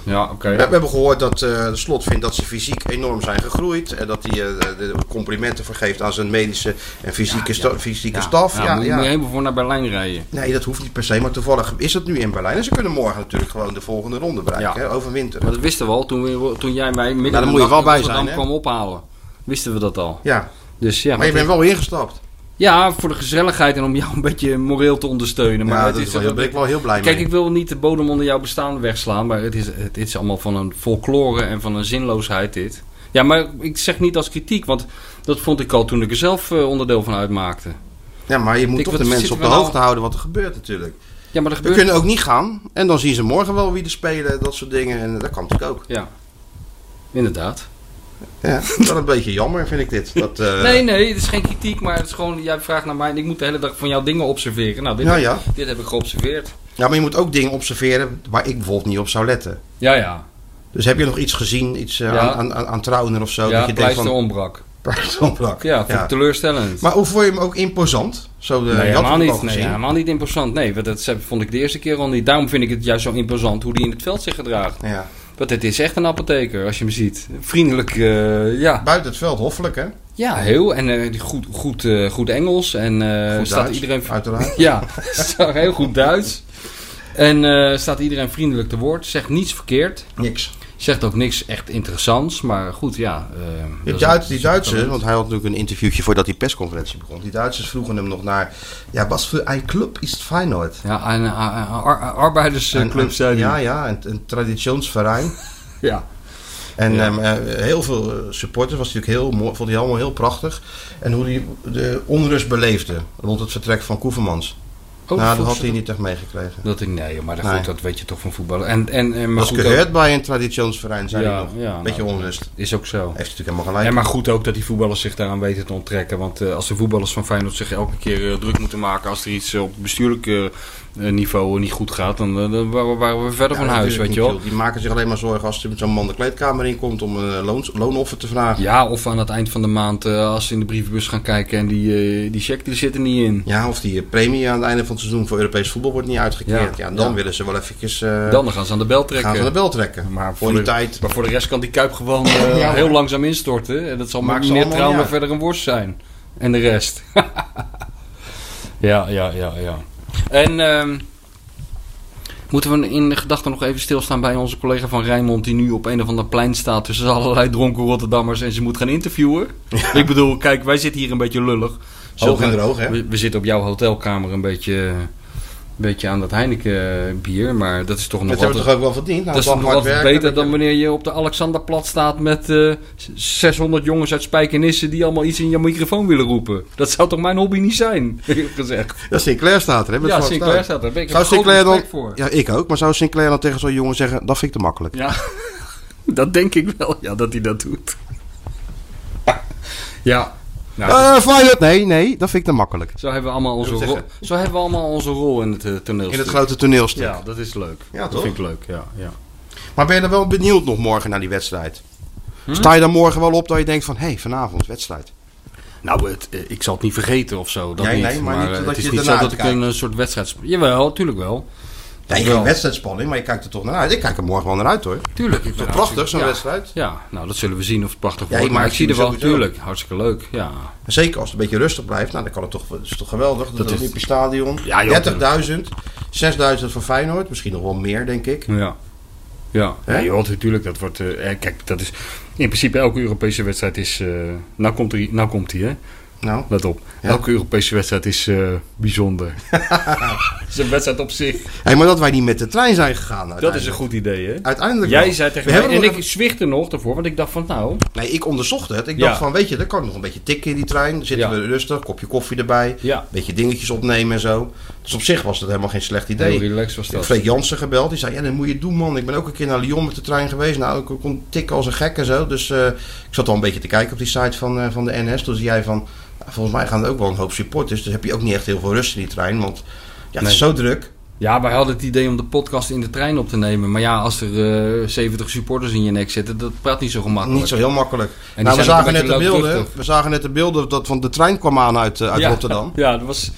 Is. Ja, oké. We hebben gehoord dat eh, de slot vindt dat ze fysiek enorm zijn gegroeid. En dat hij eh, de complimenten vergeeft aan zijn medische en fysieke, sta- fysieke staf. Ja, Ja, moet je- ja. moet je helemaal voor naar Berlijn rijden. Nee, dat hoeft niet per se. Maar toevallig is het nu in Berlijn. En ze kunnen morgen natuurlijk gewoon de volgende ronde bereiken. Ja. Hè, overwinteren. Maar dat wisten we al toen, we- toen jij mij daar midden in de Nou, moet je nacht wel bij in Rotterdam zijn, hè? kwam ophalen. Wisten we dat al. Ja, Dus ja, maar je wat- bent wel ingestapt. ja, voor de gezelligheid en om jou een beetje moreel te ondersteunen. Maar ja, het dat is wel, toch- daar ben ik wel heel blij Kijk, mee. ik wil niet de bodem onder jouw bestaan wegslaan, maar het is, het is allemaal van een folklore en van een zinloosheid dit. Ja, maar ik zeg niet als kritiek, want dat vond ik al toen ik er zelf eh, onderdeel van uitmaakte. ja, maar je moet ik- toch wat de mensen zitten op de we nou- hoogte houden wat er gebeurt natuurlijk. Ja, maar dat We gebeurt... kunnen ook niet gaan. En dan zien ze morgen wel wie er spelen. Dat soort dingen. En dat kan natuurlijk ook. Ja, inderdaad. Ja, wel een beetje jammer vind ik dit. Dat, eh, nee, nee, het is geen kritiek, maar het is gewoon, jij vraagt naar mij en ik moet de hele dag van jouw dingen observeren. Nou, dit, Ja, ja. dit heb ik geobserveerd. Ja, maar je moet ook dingen observeren waar ik bijvoorbeeld niet op zou letten. Ja, ja. Dus heb je nog iets gezien, iets eh, Ja. aan, aan, aan, aan Trauner of zo? ja, dat je denkt pleister van... ombrak. Pleisteronbrak. Ja, vond ik teleurstellend. Maar hoe vond je hem ook imposant? Zo de nee, je had helemaal hem niet. al Nee, gezien. helemaal niet imposant. Nee, want dat vond ik de eerste keer al niet. Daarom vind ik het juist zo imposant hoe die in het veld zich gedraagt. Ja. Want het is echt een apotheker als je hem ziet. Vriendelijk, eh, ja. Buiten het veld, hoffelijk Eh, hè? Ja, heel. En eh, die goed, goed, eh, goed Engels. En eh, Goed staat Duits, iedereen. Uiteraard. Ja, staat heel goed Duits. En eh, staat iedereen vriendelijk te woord. Zegt niets verkeerd. Niks. Zegt ook niks echt interessants. Maar goed, ja. eh, Je hebt dat is Duits- een- die Duitsers, want hij had natuurlijk een interviewtje voordat die persconferentie begon. Die Duitsers vroegen hem nog naar, ja, wat voor een club is het Feyenoord? Ja, een, a- a- eh, ar- arbeidersclub Een- een- zijn die. Ja, ja, een, een traditionsverein. ja. En ehm, eh, heel veel eh, supporters was natuurlijk heel mooi, vond hij allemaal heel prachtig. En hoe hij de onrust beleefde rond het vertrek van Koevermans. Oh, nou, dat vond had ze hij niet echt meegekregen. Dat ik, nee, joh, maar dat, Nee. goed, dat weet je toch van voetballen. En, en, en, maar Was goed, ook, gehoord bij een traditionsverein, zei Ja, hij nog. ja, Beetje nou, onrust. Heeft is ook zo. hij natuurlijk helemaal gelijk. En maar goed ook dat die voetballers zich daaraan weten te onttrekken. Want eh, als de voetballers van Feyenoord zich elke keer eh, druk moeten maken... als er iets eh, op bestuurlijk eh, eh, niveau niet goed gaat... dan, eh, dan waren we- waren we verder Ja, van huis, natuurlijk weet je niet, wel. joh. Die maken zich alleen maar zorgen als er met zo'n man de kleedkamer in komt om een loon, loonoffer te vragen. Ja. Ja, of aan het eind van de maand eh, als ze in de brievenbus gaan kijken... en die, eh, die check die zit er niet in. of die eh, premie aan het einde van het seizoen voor Europees voetbal wordt niet uitgekeerd. Ja, Ja. dan Ja. willen ze wel eventjes eh, Dan gaan ze aan de bel trekken. gaan ze de bel trekken. Maar voor voor die de- tijd. Maar voor de rest kan die Kuip gewoon eh, Ja, hoor. heel langzaam instorten. En dat zal Maakt Maakt ze meer allemaal trauma niet uit. verder een worst zijn. En de rest. ja, ja, ja, ja. En ehm, moeten we in de gedachten nog even stilstaan bij onze collega van Rijnmond... die nu op een of ander plein staat tussen allerlei dronken Rotterdammers... en ze moet gaan interviewen? Ik bedoel, kijk, wij zitten hier een beetje lullig. Hoog en Zullen we- droog, hè? We, we zitten op jouw hotelkamer een beetje... Een beetje aan dat Heineken eh, bier, maar dat is toch nog Dat wat. hebben we toch ook wel verdiend? Nou, Dat is dan nog hard wat werken, beter dat dan je- wanneer je op de Alexanderplat staat met eh, 600 jongens uit Spijkenisse die allemaal iets in je microfoon willen roepen. Dat zou toch mijn hobby niet zijn, eerlijk gezegd. Ja, Sinclair staat er, hè? met Ja, Frank Stuy. Sinclair staat er. Daar ben ik Zou heb groot Sinclair dan... respect voor. Ja, ik ook. Maar zou Sinclair dan tegen zo'n jongen zeggen... Dat vind ik te makkelijk. Ja, dat denk ik wel, ja, dat hij dat doet. Ja, nou, Eh, Feyenoord, nee, nee. Dat vind ik te makkelijk. zo, hebben we allemaal onze Ik wil rol, zo hebben we allemaal onze rol in het eh, In toneelstuk. het grote toneelstuk. Ja, dat is leuk. Ja, dat toch? vind ik leuk, ja. ja. Maar ben je dan wel benieuwd nog morgen naar die wedstrijd? Sta je dan morgen wel op dat je denkt van... Hé, hey, vanavond wedstrijd. Nou, het, eh, ik zal het niet vergeten of zo. Dat Nee, niet. nee, maar niet eh, dat het is je niet zo ernaar dat ik kijkt. een eh, soort wedstrijd... sp- Jawel, tuurlijk wel. Nee, geen wedstrijdspanning, maar je kijkt er toch naar uit. Ik kijk er morgen wel naar uit hoor. Tuurlijk. Ik Toch ben prachtig, zo'n ja. wedstrijd. Ja, nou dat zullen we zien of het prachtig Ja, wordt. ik maar maak ik zie er het wel, sowieso. tuurlijk. Hartstikke leuk. Ja. En zeker als het een beetje rustig blijft, nou, dan kan het toch, het is toch geweldig. Dat, is- Olympisch Stadion, Ja, joh, 30.000, 6.000 voor Feyenoord, misschien nog wel meer denk ik. Ja. Ja, Hè? ja joh, natuurlijk. Dat wordt, eh, eh, kijk, dat is in principe elke Europese wedstrijd is. eh, nou komt hij, nou komt hij, hè? Nou, Let op. Ja. Elke Europese wedstrijd is eh, bijzonder. Het is een wedstrijd op zich. hey, maar dat wij niet met de trein zijn gegaan. Dat is uiteindelijk. een goed idee, hè? Uiteindelijk Jij wel. zei tegen We mij, hebben en nog ik zwichtte nog daarvoor, want ik dacht van nou... Nee, ik onderzocht het. Ik Ja. dacht van, weet je, dan kan ik nog een beetje tikken in die trein. Dan zitten Ja. we rustig, kopje koffie erbij. Ja. Beetje dingetjes opnemen en zo. Dus op zich was dat helemaal geen slecht Heel idee. relaxed was Ik heb dat. Freek Jansen gebeld. Die zei, ja, dat moet je doen, man. Ik ben ook een keer naar Lyon met de trein geweest. Nou, ik kon tikken als een gek en zo. Dus eh, ik zat al een beetje te kijken op die site van, eh, van de NS. Toen zei jij van, nou, volgens mij gaan er ook wel een hoop supporters. Dus heb je ook niet echt heel veel rust in die trein. Want ja, het is zo druk. Ja, wij hadden het idee om de podcast in de trein op te nemen. Maar ja, als er eh 70 supporters in je nek zitten, dat praat niet zo gemakkelijk. Niet zo heel makkelijk. die Nou, we zijn ook zagen, een net de beetje beelden, luidruchtig. we zagen net de beelden dat, van de trein kwam aan uit, eh, uit ja, Rotterdam. Ja, dat was,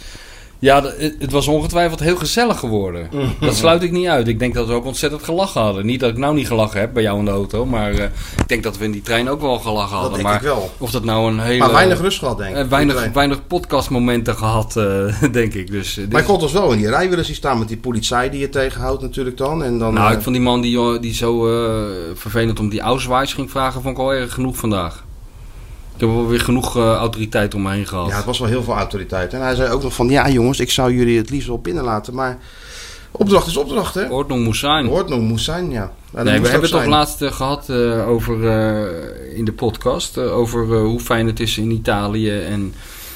ja dat- het het was ongetwijfeld heel gezellig geworden. Mm. Dat sluit ik niet uit. Ik denk dat we ook ontzettend gelachen hadden. Niet dat ik nou niet gelachen heb bij jou in de auto, maar eh, ik denk dat we in die trein ook wel gelachen hadden. Dat denk maar ik wel. Of dat nou een hele... Maar weinig rust gehad, denk ik. eh, weinig, weinig podcastmomenten gehad, eh, denk ik. Dus, eh, dit Maar is- ik kon ons wel in die rij willen zien staan met die politie die je tegenhoudt natuurlijk dan. En dan Nou, eh, ik vond die man die, eh, die zo eh, vervelend om die Ausweis ging vragen, vond ik al erg genoeg vandaag. Ik heb wel weer genoeg eh, autoriteit om me heen gehad. ja, het was wel heel veel autoriteit. En hij zei ook nog van, ja jongens, ik zou jullie het liefst wel binnenlaten. Maar opdracht is opdracht, hè. Ordnung moest zijn. Hoort nog, moest zijn, ja. En dat Nee, we moest hebben ook het toch zijn. laatst eh, gehad eh, over, eh, in de podcast eh, over eh, hoe fijn het is in Italië en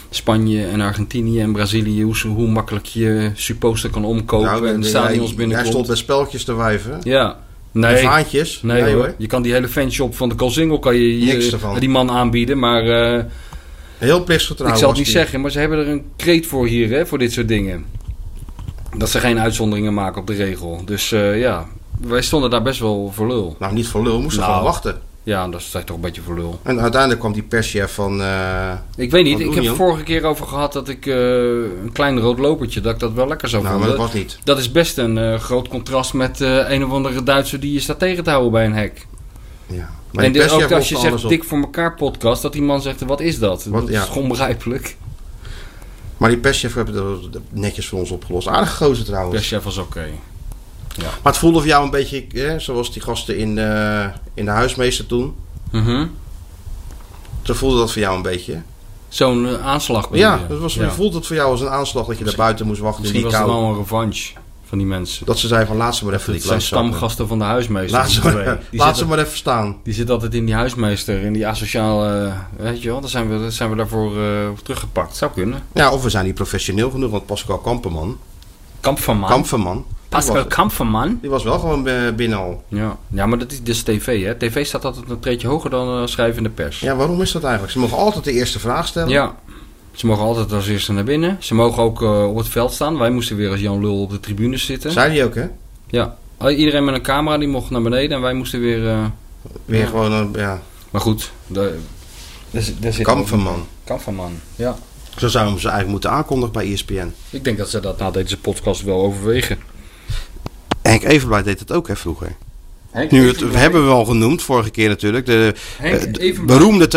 Spanje en Argentinië en Brazilië. Hoe, ze- hoe makkelijk je supposter kan omkopen Nou, en eh, de hij- stadions Hij binnenkomt. stond bij speltjes te wijven. Ja, En nee. vaantjes. Nee, hoor. Je kan die hele fanshop van de Colsingel kan je, je- Niks ervan. die man aanbieden. Maar eh, Heel plichtsgetrouw ik zal was het niet die. zeggen, maar ze hebben er een kreet voor hier, hè, voor dit soort dingen. Dat ze geen uitzonderingen maken op de regel. Dus eh, ja, wij stonden daar best wel voor lul. Nou, niet voor lul, moesten Nou. gewoon wachten. Ja, dat is toch een beetje voor lul. En uiteindelijk kwam die perschef van... eh, Ik weet niet, Van ik heb Union. het vorige keer over gehad dat ik eh, een klein rood lopertje, dat ik dat wel lekker zou nou, maar vinden. dat was niet. Dat is best een eh, groot contrast met eh, een of andere Duitser die je staat tegen te houden bij een hek. Ja. Maar en die dit is ook perschef als je loste alles zegt op. dik voor elkaar podcast, dat die man zegt, wat is dat? Wat- dat ja. is onbegrijpelijk. Maar die perschef hebben dat netjes voor ons opgelost. Aardig gozer trouwens. Perschef was oké. Maar het voelde voor jou een beetje hè, zoals die gasten in, eh, in de huismeester toen. Mhm. Zo voelde dat voor jou een beetje. hè? Zo'n eh, aanslag. bedoel Ja, je? dat was, Ja. voelde het voor jou als een aanslag dat je daar buiten moest wachten. Misschien in was die het kou. wel een revanche van die mensen. Dat ze zeiden van laat ze maar even Dat die zijn klas zakken. stamgasten van de huismeester. Laat ze, die twee. maar, Die laat zitten- ze maar even staan. Die zit altijd in die huismeester, in die asociale... Weet je wel, daar zijn we, daar zijn we daarvoor eh, op teruggepakt. Zou kunnen. Ja, of we zijn niet professioneel genoeg, want Pascal Kamperman, Kampferman. Kamperman, die Pascal was, Kampferman. die was wel gewoon eh, binnen al. Ja. ja, maar dat is, dit is tv, hè. TV staat altijd een treetje hoger dan eh, schrijven in de pers. Ja, waarom is dat eigenlijk? Ze mogen altijd de eerste vraag stellen. Ja. Ze mogen altijd als eerste naar binnen. Ze mogen ook eh, op het veld staan. Wij moesten weer als Jan Lul op de tribune zitten. Zei die ook, hè? Ja. Oh, Iedereen met een camera, die mocht naar beneden. En wij moesten weer... eh, Weer Ja. gewoon een ja, Maar goed, daar, daar, zit- daar zit... Kamperman. Kampferman, ja. Zo zouden we ze eigenlijk moeten aankondigen bij E ESPN. Ik denk dat ze dat na deze podcast wel overwegen. Henk Evenblij deed het ook, hè, vroeger. Henk Nu, het hebben we al genoemd, vorige keer natuurlijk. De, Henk eh, de Evenblij. beroemde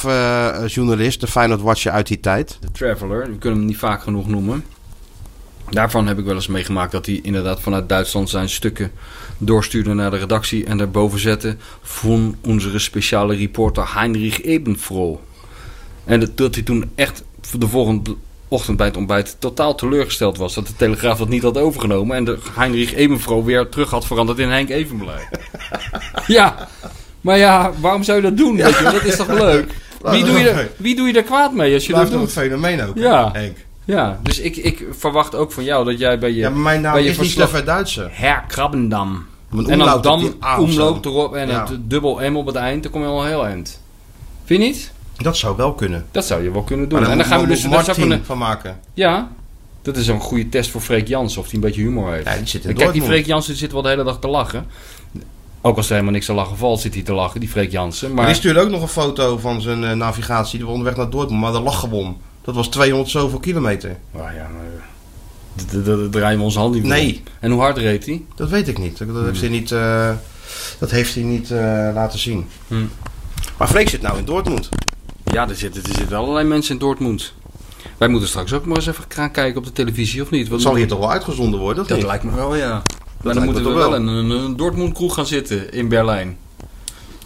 Telegraaf-journalist, de Feyenoord Watcher uit die tijd. De Traveler, we kunnen hem niet vaak genoeg noemen. Daarvan heb ik wel eens meegemaakt dat hij inderdaad vanuit Duitsland zijn stukken doorstuurde naar de redactie en daarboven zette van onze speciale reporter Heinrich Ebenfroh. En dat, dat hij toen echt de volgende ochtend bij het ontbijt totaal teleurgesteld was dat de Telegraaf dat niet had overgenomen en de Heinrich Ebenfroh weer terug had veranderd in Henk Evenblij. ja, maar ja, waarom zou je dat doen? Weet je? wel? Dat is toch leuk? Wie doe, je er, wie doe je er kwaad mee als je dat Blijft nog doet? het fenomeen ook, hè, Ja. Henk. Ja, dus ik, ik verwacht ook van jou dat jij bij je... Ja, maar mijn naam bij je is niet verslag- Stefan Duitser. Herr Krabbendam. Mijn En dan omlaut op Dam die A Ah, of omloopt zo. erop en Ja. het dubbel M op het eind. Dan kom je al heel eind. Vind je niet? Dat zou wel kunnen. Dat zou je wel kunnen doen. Maar en dan gaan we moet dus... dat is ook Martin een- van maken. ja, dat is een goede test voor Freek Jansen. Of hij een beetje humor heeft. Ja, die zit in En Kijk, die Dortmund. Freek Jansen zit wel de hele dag te lachen. Ook als er helemaal niks te lachen valt, zit hij te lachen, die Freek Jansen. Maar Er is natuurlijk ook nog een foto van zijn eh, navigatie. Die was onderweg naar Dortmund, maar de lach gewoon. Dat was 200 zoveel kilometer. Nou ja, maar, d- d- d- draaien we onze hand niet meer Nee. om. En hoe hard reed hij? Dat weet ik niet. Dat heeft hij niet, eh, dat heeft hij niet eh, laten zien. Hmm. Maar Freek zit nou in Dortmund. Ja, er zitten er zitten allerlei mensen in Dortmund. Wij moeten straks ook maar eens even gaan kijken op de televisie, of niet? Dat Want- zal hier toch wel uitgezonden worden? Of Dat niet? lijkt me wel, ja. Maar dan lijkt moeten me we toch wel in wel. een, een Dortmund kroeg gaan zitten in Berlijn.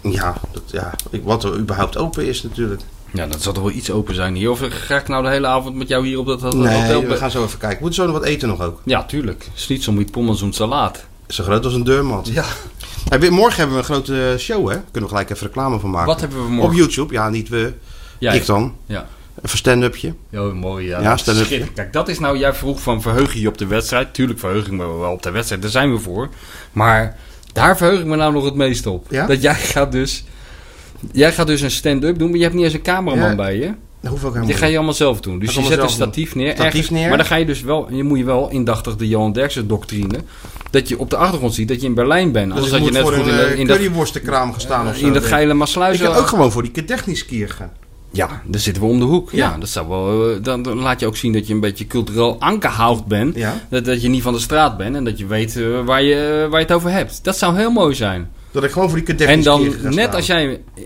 Ja, dat, ja. Ik- wat er überhaupt open is natuurlijk. Ja, dat zal toch wel iets open zijn hier. Of ga ik nou de hele avond met jou hier op dat dat- dat hotel? Nee, we gaan zo even kijken. Moeten we zo nog wat eten nog ook? Ja, tuurlijk. Schnitzel met pommes en salaat. Zo groot als een deurmat. Ja. Hey, we- morgen hebben we een grote eh, show, hè? Kunnen we gelijk even reclame van maken. Wat hebben we morgen? Op YouTube. Ja, niet we. Ja, ik dan. Ja. Even stand-upje. Oh, mooi. Ja, Ja, Dat is stel het- schitterend. Kijk, dat is nou... Jij vroeg van verheug je je op de wedstrijd. Tuurlijk verheug ik me wel op de wedstrijd. Daar zijn we voor. Maar daar verheug ik me nou nog het meest op. Ja? Dat jij gaat dus... Jij gaat dus een stand-up doen, maar je hebt niet eens een cameraman Ja. bij je. Hoeveel gaan Die ga je allemaal zelf doen. Dus Dat je allemaal zet een zelf doen. statief neer. Statief ergens. neer. Maar dan ga je dus wel, je moet je wel indachtig de Johan Derksen doctrine. Dat je op de achtergrond ziet dat je in Berlijn bent. Dus Anders ik had je moet net voor goed in, een de- eh, in dat, curryworstenkraam gestaan of zo. in dat geile Ik Maasluis. kan ook gewoon voor die technisch kier gaan. Ja, daar zitten we om de hoek. Ja, Ja. dat zou wel, eh, dan, dan laat je ook zien dat je een beetje cultureel ankerhoud bent. Ja. Dat, dat je niet van de straat bent en dat je weet eh, waar, je, waar je het over hebt. Dat zou heel mooi zijn. Dat ik gewoon voor die En kadettenskier dan, ga staan. net als jij eh,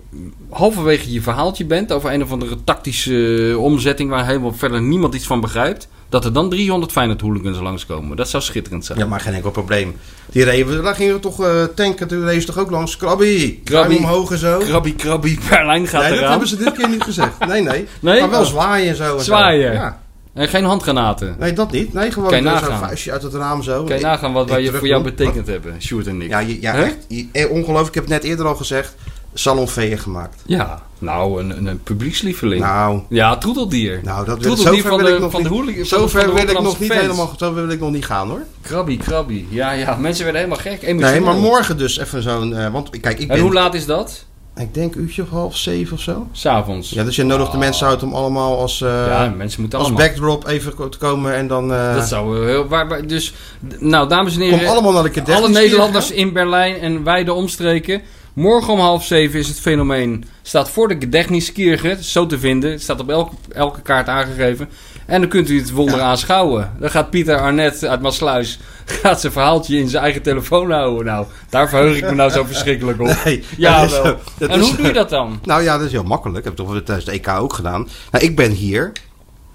halverwege je verhaaltje bent over een of andere tactische eh, omzetting waar helemaal verder niemand iets van begrijpt, dat er dan 300 Feyenoord hooligans langskomen. Dat zou schitterend zijn. Ja, maar geen enkel probleem. Die reden, we- daar gingen we toch eh, tanken, toen reden ze toch ook langs. Krabby, Krabbie. Krabby. omhoog en zo. Krabbie, krabbie, Berlijn gaat nee, dat eraan. hebben ze dit keer niet gezegd. Nee, nee. Nee? Maar wel Oh. zwaaien en zo. en zo. Zwaaien. Ja. En geen handgranaten. Nee, dat niet. Nee, gewoon Kan je eh, zo'n nagaan. vuistje uit het raam zo. Kan je Ik- nagaan wat ik wij je voor terugkom. jou betekend hebben, Sjoerd en ik. Ja, je- ja Hè? echt. je- eh, Ongelooflijk, ik heb het net eerder al gezegd. Salonveeën gemaakt. Ja, nou, een, een, een publiekslieveling. Nou, Ja, troeteldier. nou dat wil, troeteldier zover van wil de, ik nog van de niet. hooli- van de- van de Zover wil ik nog Rotterdamse niet fans. helemaal, zover wil ik nog niet gaan hoor. Krabbie, krabbie. Ja, ja, mensen werden helemaal gek. Nee, emotioneel. maar morgen dus even zo'n, eh, want kijk, ik En hoe ben, laat is dat? ik denk uurtje of half zeven of zo. S'avonds. Ja, dus je nodigt de mensen uit om allemaal als, eh, Ja, mensen moeten als allemaal. backdrop even ko- te komen en dan... eh, Dat zou eh, heel... Waar, waar- dus, d- nou, dames en heren... Kom allemaal naar de alle Kedechtische Nederlanders in Berlijn en wijde omstreken. Morgen om half zeven is het fenomeen... Staat voor de Gedächtniskirche, zo te vinden. Het staat op elke, elke kaart aangegeven. En dan kunt u het wonder aanschouwen. Dan gaat Pieter Arnet uit Maasluis... Gaat zijn verhaaltje in zijn eigen telefoon houden. Nou, daar verheug ik me nou zo verschrikkelijk op. Nee, ja, dat is- wel. dat En is- hoe doe je dat dan? Nou ja, dat is heel makkelijk. Ik heb toch wel tijdens de EK ook gedaan. Nou, ik ben hier.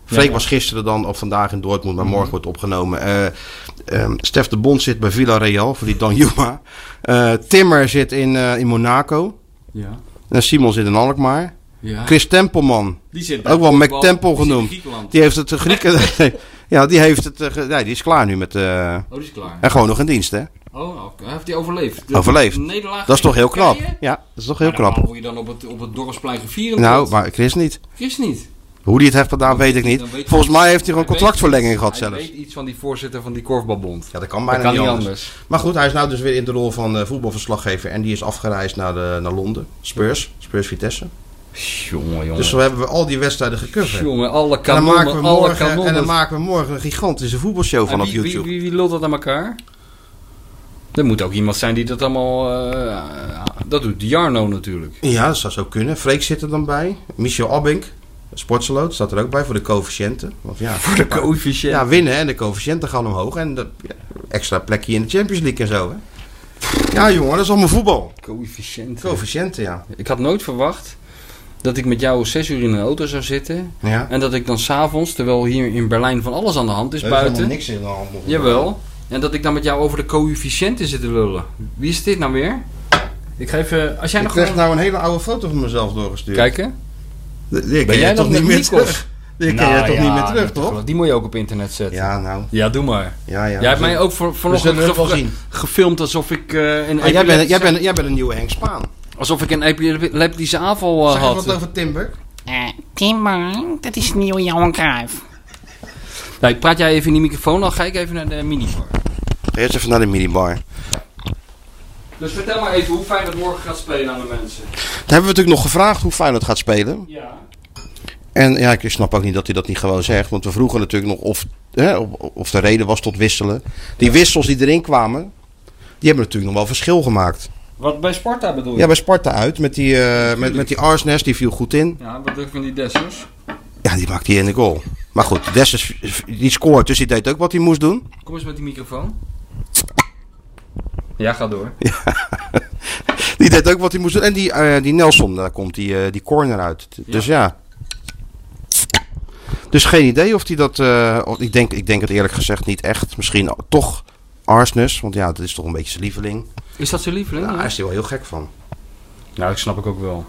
Freek Ja. Mhm. was gisteren dan of vandaag in Dortmund, maar morgen wordt opgenomen. Eh, ehm, Stef de Bond zit bij Villarreal voor die Dan Juma. Eh, Timmer zit in, eh, in Monaco. Ja. En Simon zit in Alkmaar. ja. Chris Tempelman, Die zit bij ook wel voetbal. McTempel Die zit in genoemd. Griekenland. Oh, die heeft het eh, Grieken. ja, die heeft het. eh, ge- nee, die is klaar nu met. eh, Oh, die is klaar. en gewoon nog in dienst, hè? Oh, oké. heeft hij overleefd? De Overleefd. Nederlaag Dat is toch heel knap? Turkije? Ja, dat is toch heel Maar normaal knap. word je dan op het, op het dorpsplein gevierd. Nou, maar Chris niet. Chris niet. Hoe die het heeft gedaan, weet ik niet. Dan weet- Volgens mij heeft hij gewoon Hij weet contractverlenging gehad Hij zelfs. weet iets van die voorzitter van die korfbalbond. Ja, dat kan Dat bijna kan niet niet anders. anders. Maar goed, hij is nou dus weer in de rol van eh, voetbalverslaggever. En die is afgereisd naar, de, naar Londen. Spurs. Spurs Vitesse. Jongen, jongen. Dus zo hebben we al die wedstrijden gecoverd. jongen, alle En dan, kanonnen, maken we alle morgen, kanonnen. en dan maken we morgen een gigantische voetbalshow van En op wie, YouTube. Wie, wie, wie lult dat aan elkaar? Er moet ook iemand zijn die dat allemaal... eh, dat doet Jarno natuurlijk. Ja, dat zou zo kunnen. Freek zit er dan bij. Michel Abink, sportsaloot, staat er ook bij voor de coëfficiënten. Want ja, voor de Coëfficiënt. Ja, winnen en de coëfficiënten gaan omhoog. En dat, ja, extra plekje in de Champions League en zo. Hè? Ja, jongen, dat is allemaal voetbal. Coëfficiënt. Coëfficiënten, ja. Ik had nooit verwacht dat ik met jou zes uur in een auto zou zitten... ja. En dat ik dan s'avonds, terwijl hier in Berlijn van alles aan de hand is Er is helemaal buiten. niks in de hand. nog. jawel. En dat ik dan met jou over de coëfficiënten zit te lullen. Wie is dit nou weer? Ik ga even. Als jij Ik nou- nog. kreeg gewoon- nou een hele oude foto van mezelf doorgestuurd. Kijken. Die- Die Ben ken jij je nog toch niet met meer Nikos? terug? Die Nou Nou ken je toch niet meer terug, toch? Die moet je ook op internet zetten. Ja, Ja, nou. doe maar. Ja, ja. jij hebt We mij ook voor, vanochtend zullen het wel ge- zien. gefilmd alsof ik eh, een Ah, jij, bent, jij, epileptische- bent, jij bent een nieuwe Henk Spaan. alsof ik een epileptische aanval eh, Zeg even had. wat over Timber. Eh, Timmer, dat is nieuw Johan Cruijff. Nee, Nou, praat jij even in die microfoon, dan ga ik even naar de minibar. Eerst even naar de minibar. Dus vertel maar even hoe fijn dat morgen gaat spelen aan de mensen. Dan hebben we natuurlijk nog gevraagd hoe Feyenoord gaat spelen. Ja. En ja, ik snap ook niet dat hij dat niet gewoon zegt. Want we vroegen natuurlijk nog of, hè, of- of de reden was tot wisselen. Die wissels die erin kwamen, die hebben natuurlijk nog wel verschil gemaakt. Wat bij Sparta bedoel je? Ja, bij Sparta uit met die, eh, met, met die Arsnes, die viel goed in. Ja, wat denk je van die Dessers? Ja, die maakt hij in de goal. Maar goed, Dessers die scoort, dus die deed ook wat hij moest doen. Kom eens met die microfoon. Ja, ga door. Die deed ook wat hij moest doen. En die, eh, die Nelson, daar komt die, eh, die corner uit. T- Dus ja. Dus geen idee of hij dat... eh, of- ik, denk, ik denk het eerlijk gezegd niet echt. Misschien toch Arsnes, want ja, dat is toch een beetje zijn lieveling. Is dat zijn lieveling? Nou, Ja. hij is er wel heel gek van. Nou, dat snap ik ook wel.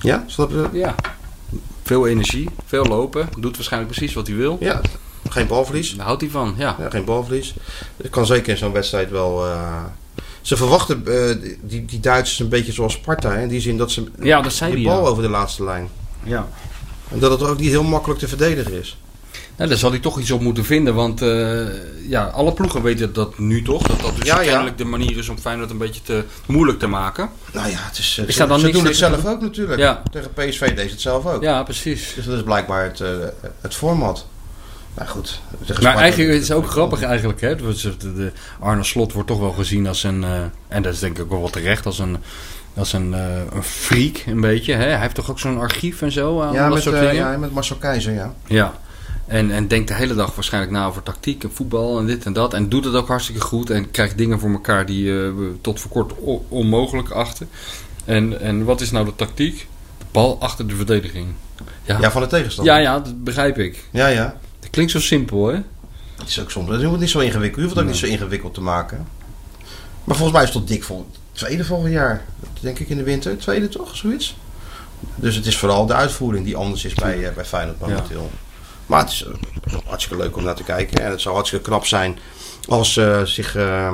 Ja, snap je dat? Ja. Veel energie, veel lopen. Doet waarschijnlijk precies wat hij wil. Ja, geen balverlies. Daar houdt hij van, ja. Ja, geen balverlies. Dat kan zeker in zo'n wedstrijd wel... eh, ze verwachten eh, die, die Duitsers een beetje zoals Sparta. hè, In die zin dat ze Ja, dat zei die hij, bal ja. over de laatste lijn. ja. En dat het ook niet heel makkelijk te verdedigen is. Nou, daar zal hij toch iets op moeten vinden. Want eh, ja, alle ploegen weten dat nu toch. Dat dat dus Ja, ja. kennelijk de manier is om Feyenoord een beetje te moeilijk te maken. Nou ja, het is, eh, Is ze, daar dan ze niks doen het tegen zelf ook natuurlijk. Ja. Tegen PSV deed ze het zelf ook. Ja, precies. Dus dat is blijkbaar het, eh, het format. Nou goed. tegen Maar Sparta- eigenlijk het is het ook grappig eigenlijk. Hè? Dat ze- de- de Arne Slot wordt toch wel gezien als een... eh, en dat is denk ik ook wel terecht. Als een, als een, eh, een freak een beetje. Hè? Hij heeft toch ook zo'n archief en zo. aan Ja, dat met, soort eh, dingen. ja, met Marcel Keizer, ja. Ja. En, en denkt de hele dag waarschijnlijk na over tactiek en voetbal en dit en dat. En doet het ook hartstikke goed. En krijgt dingen voor elkaar die eh, we tot voor kort o- onmogelijk achten. En, en wat is nou de tactiek? De bal achter de verdediging. Ja, Ja, ja, van de tegenstander. ja, dat begrijp ik. ja. ja. Dat klinkt zo simpel, hè? Het is ook soms. Je moet het niet zo ingewikkeld. Je hoeft het ook niet zo ingewikkeld te maken. Maar volgens mij is het tot dik vol, tweede volgend jaar. Dat Denk ik in de winter. Tweede toch? Zoiets. Dus het is vooral de uitvoering die anders is bij, eh, bij Feyenoord momenteel. Maar het is eh, hartstikke leuk om naar te kijken. En het zou hartstikke knap zijn als ze zich eh,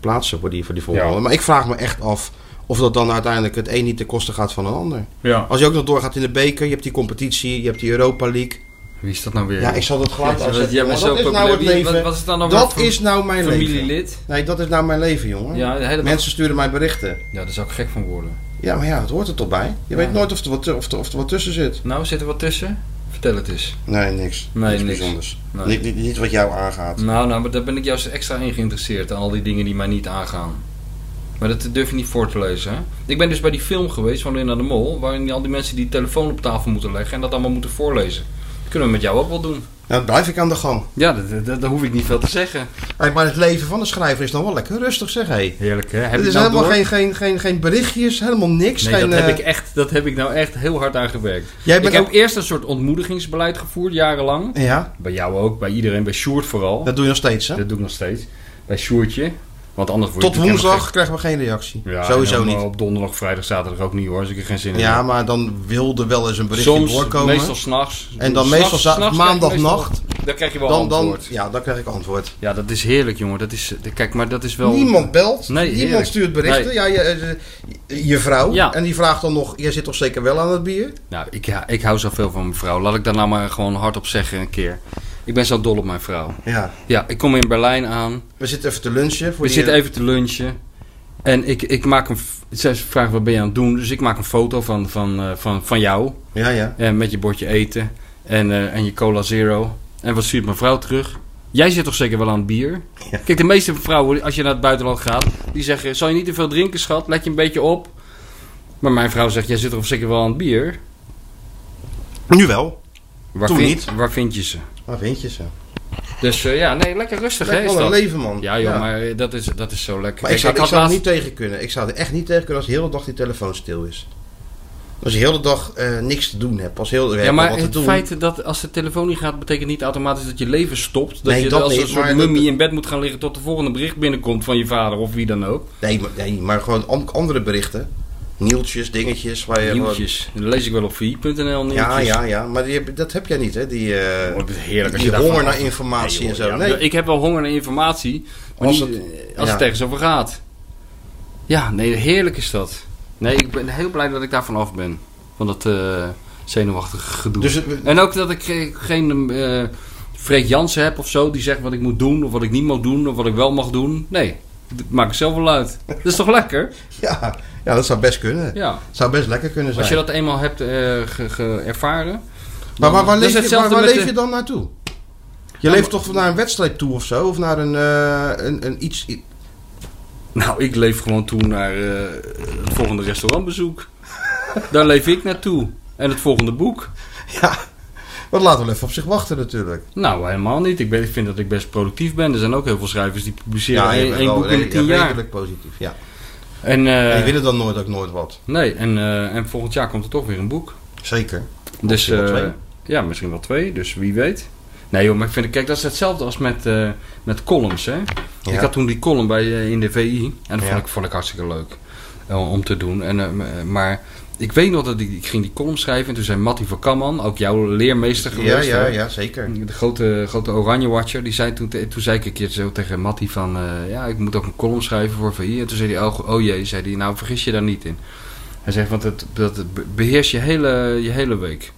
plaatsen voor die, voor die volgende. Maar ik vraag me echt af of dat dan uiteindelijk het een niet ten koste gaat van een ander. Ja. Als je ook nog doorgaat in de beker, je hebt die competitie, je hebt die Europa League. Wie is dat nou weer? Ja, ik zal dat geluid Ja, dat- uitzetten. jij maar bent dat zo is nou het populair. Wie- leven. wat- wat is dan nou dat weer is nou mijn leven. Familielid? Nee, dat is nou mijn leven, jongen. Ja, de hele dag- Mensen sturen mij berichten. Ja, daar zou ik gek van worden. Ja, maar ja, dat hoort er toch bij. Je weet nooit of er, wat, of, er, of er wat tussen zit. Nou, zit er wat tussen? Vertel het eens. Nee, niks. Nee, niks, niks. bijzonders. Nee. Niet, niet, niet wat jou aangaat. Nou, nou, maar daar ben ik juist extra in geïnteresseerd. Aan al die dingen die mij niet aangaan. Maar dat durf je niet voor te lezen, hè? Ik ben dus bij die film geweest van Linda de Mol... waarin al die mensen die telefoon op tafel moeten leggen... en dat allemaal moeten voorlezen. Dat kunnen we met jou ook wel doen. Nou, dan blijf ik aan de gang. Ja, daar hoef ik niet veel te zeggen. Hey, maar het leven van de schrijver is dan wel lekker rustig, zeg hé. Heerlijk, hè? Heb Het je is nou helemaal door? geen, geen, geen, geen berichtjes, helemaal niks. Nee, geen, dat, eh, heb ik echt, dat heb ik nou echt heel hard aan gewerkt. Jij bent ik heb ook- eerst een soort ontmoedigingsbeleid gevoerd, jarenlang. Ja, Bij jou ook, bij iedereen, bij Sjoerd vooral. Dat, dat doe je nog steeds, hè? doe ik nog steeds. Bij Sjoerdje. Want anders word je Tot natuurlijk helemaal woensdag krijgen we geen reactie. Ja, Sowieso en dan niet. Op donderdag, vrijdag, zaterdag ook niet hoor. Als ik er geen zin in Ja, heb. maar dan wilde wel eens een berichtje Soms, doorkomen. meestal s'nachts. En dan meestal za- maandagnacht. Dan krijg je wel dan, dan, antwoord. ja, dan krijg ik antwoord. Ja, dat is heerlijk jongen. Dat is, eh, kijk, maar dat is wel... Niemand belt, Nee, niemand heerlijk. stuurt berichten. Nee. Ja, je, eh, je, je vrouw. Ja. En die vraagt dan nog, jij zit toch zeker wel aan het bier? Nou, ik, ja, ik hou zoveel van mijn vrouw. Laat ik daar nou maar gewoon hardop zeggen een keer. Ik ben zo dol op mijn vrouw. Ja. Ja, ik kom in Berlijn aan. We zitten even te lunchen. Voor die- We eh, zitten even te lunchen. En ik, ik maak een... f- Zij vraagt, wat ben je aan het doen? Dus ik maak een foto van, van, eh, van, van jou. Ja, ja. En Eh, met je bordje eten en, eh, en je cola zero. En wat stuurt mijn vrouw terug? Jij zit toch zeker wel aan het bier? Kijk, de meeste vrouwen, als je naar het buitenland gaat, die zeggen: Zal je niet te veel drinken, schat? Let je een beetje op. Maar mijn vrouw zegt: Jij zit toch zeker wel aan het bier? Nu wel. Waar, Toen vind, niet. waar vind je ze? Maar vind je ze? Dus eh, ja, nee, lekker rustig, hè? Lekker Is wel een dat? leven, man. Ja, joh, maar eh, dat is, dat is zo lekker. Maar Kijk, ik zou, ik had zou er laatst- niet tegen kunnen. Ik zou er echt niet tegen kunnen als de hele dag die telefoon stil is. Als je de hele dag eh, niks te doen hebt. Als heel, we Ja, hebben maar wat te het doen. feit dat als de telefoon niet gaat, betekent niet automatisch dat je leven stopt. Dat Nee, je dat als een niet, soort maar dat- mummie in bed moet gaan liggen tot de volgende bericht binnenkomt van je vader of wie dan ook. Nee, maar, nee, maar gewoon an- andere berichten. Nieltjes, dingetjes. Waar je gewoon- Nieuwtjes. Dat lees ik wel op vi.nl nieuwtjes. Ja, ja, ja. Maar die, heb- dat heb jij niet, hè? Die, eh, Oh, het is heerlijk als die je daarvan honger naar af- informatie Nee, en joh, zo. ja, Nee, Ik heb wel honger naar informatie, maar Als niet, eh, als, het- het, ja. ergens over gaat. Ja, nee, heerlijk is dat. Nee, ik ben heel blij dat ik daarvan af ben. Van dat eh, zenuwachtige gedoe. Dus het- en ook dat ik ge- geen eh Freek Jansen heb of zo, die zegt wat ik moet doen, of wat ik niet mag doen, of wat ik wel mag doen. Nee, dat maak ik zelf wel uit. Dat is toch lekker? ja, ja, dat zou best kunnen. Ja. Zou best lekker kunnen zijn. Als je dat eenmaal hebt eh, ge- ge- ervaren. maar waar, waar Dat is leef, je, waar, hetzelfde waar met leef de- je dan naartoe? Je leeft toch naar een wedstrijd toe of zo? Of naar een, eh, een, een iets... i- Nou, ik leef gewoon toe naar eh, het volgende restaurantbezoek. Daar leef ik naartoe. En het volgende boek. Ja, Maar laten we wel even op zich wachten natuurlijk. Nou, helemaal niet. Ik, ben, ik vind dat ik best productief ben. Er zijn ook heel veel schrijvers die publiceren je één, bent één wel boek in de re- tien ja, jaar. redelijk positief, ja. En, eh, En je willen dan nooit ook nooit wat. nee, en, eh, en volgend jaar komt er toch weer een boek. Zeker. Dus, wel eh, twee. Ja, misschien wel twee, dus wie weet. Nee joh, maar ik vind, kijk, dat is hetzelfde als met, eh, met columns, hè. Ja. Ik had toen die column bij, eh, in de VI en dat Ja. vond, ik, vond ik hartstikke leuk eh, om te doen. En, eh, m- eh, maar ik weet nog dat ik, ik ging die column schrijven en toen zei Matty van Kamman, ook jouw leermeester Ja, geweest. ja, hè? ja, zeker. De grote, grote Oranje Watcher, die zei toen, te- toen zei ik een keer zo tegen Matty van... eh, ja, ik moet ook een column schrijven voor VI. En toen zei hij, oh, oh jee, zei hij, nou vergis je daar niet in. Hij zegt, want het, dat be- beheerst je hele, je hele week.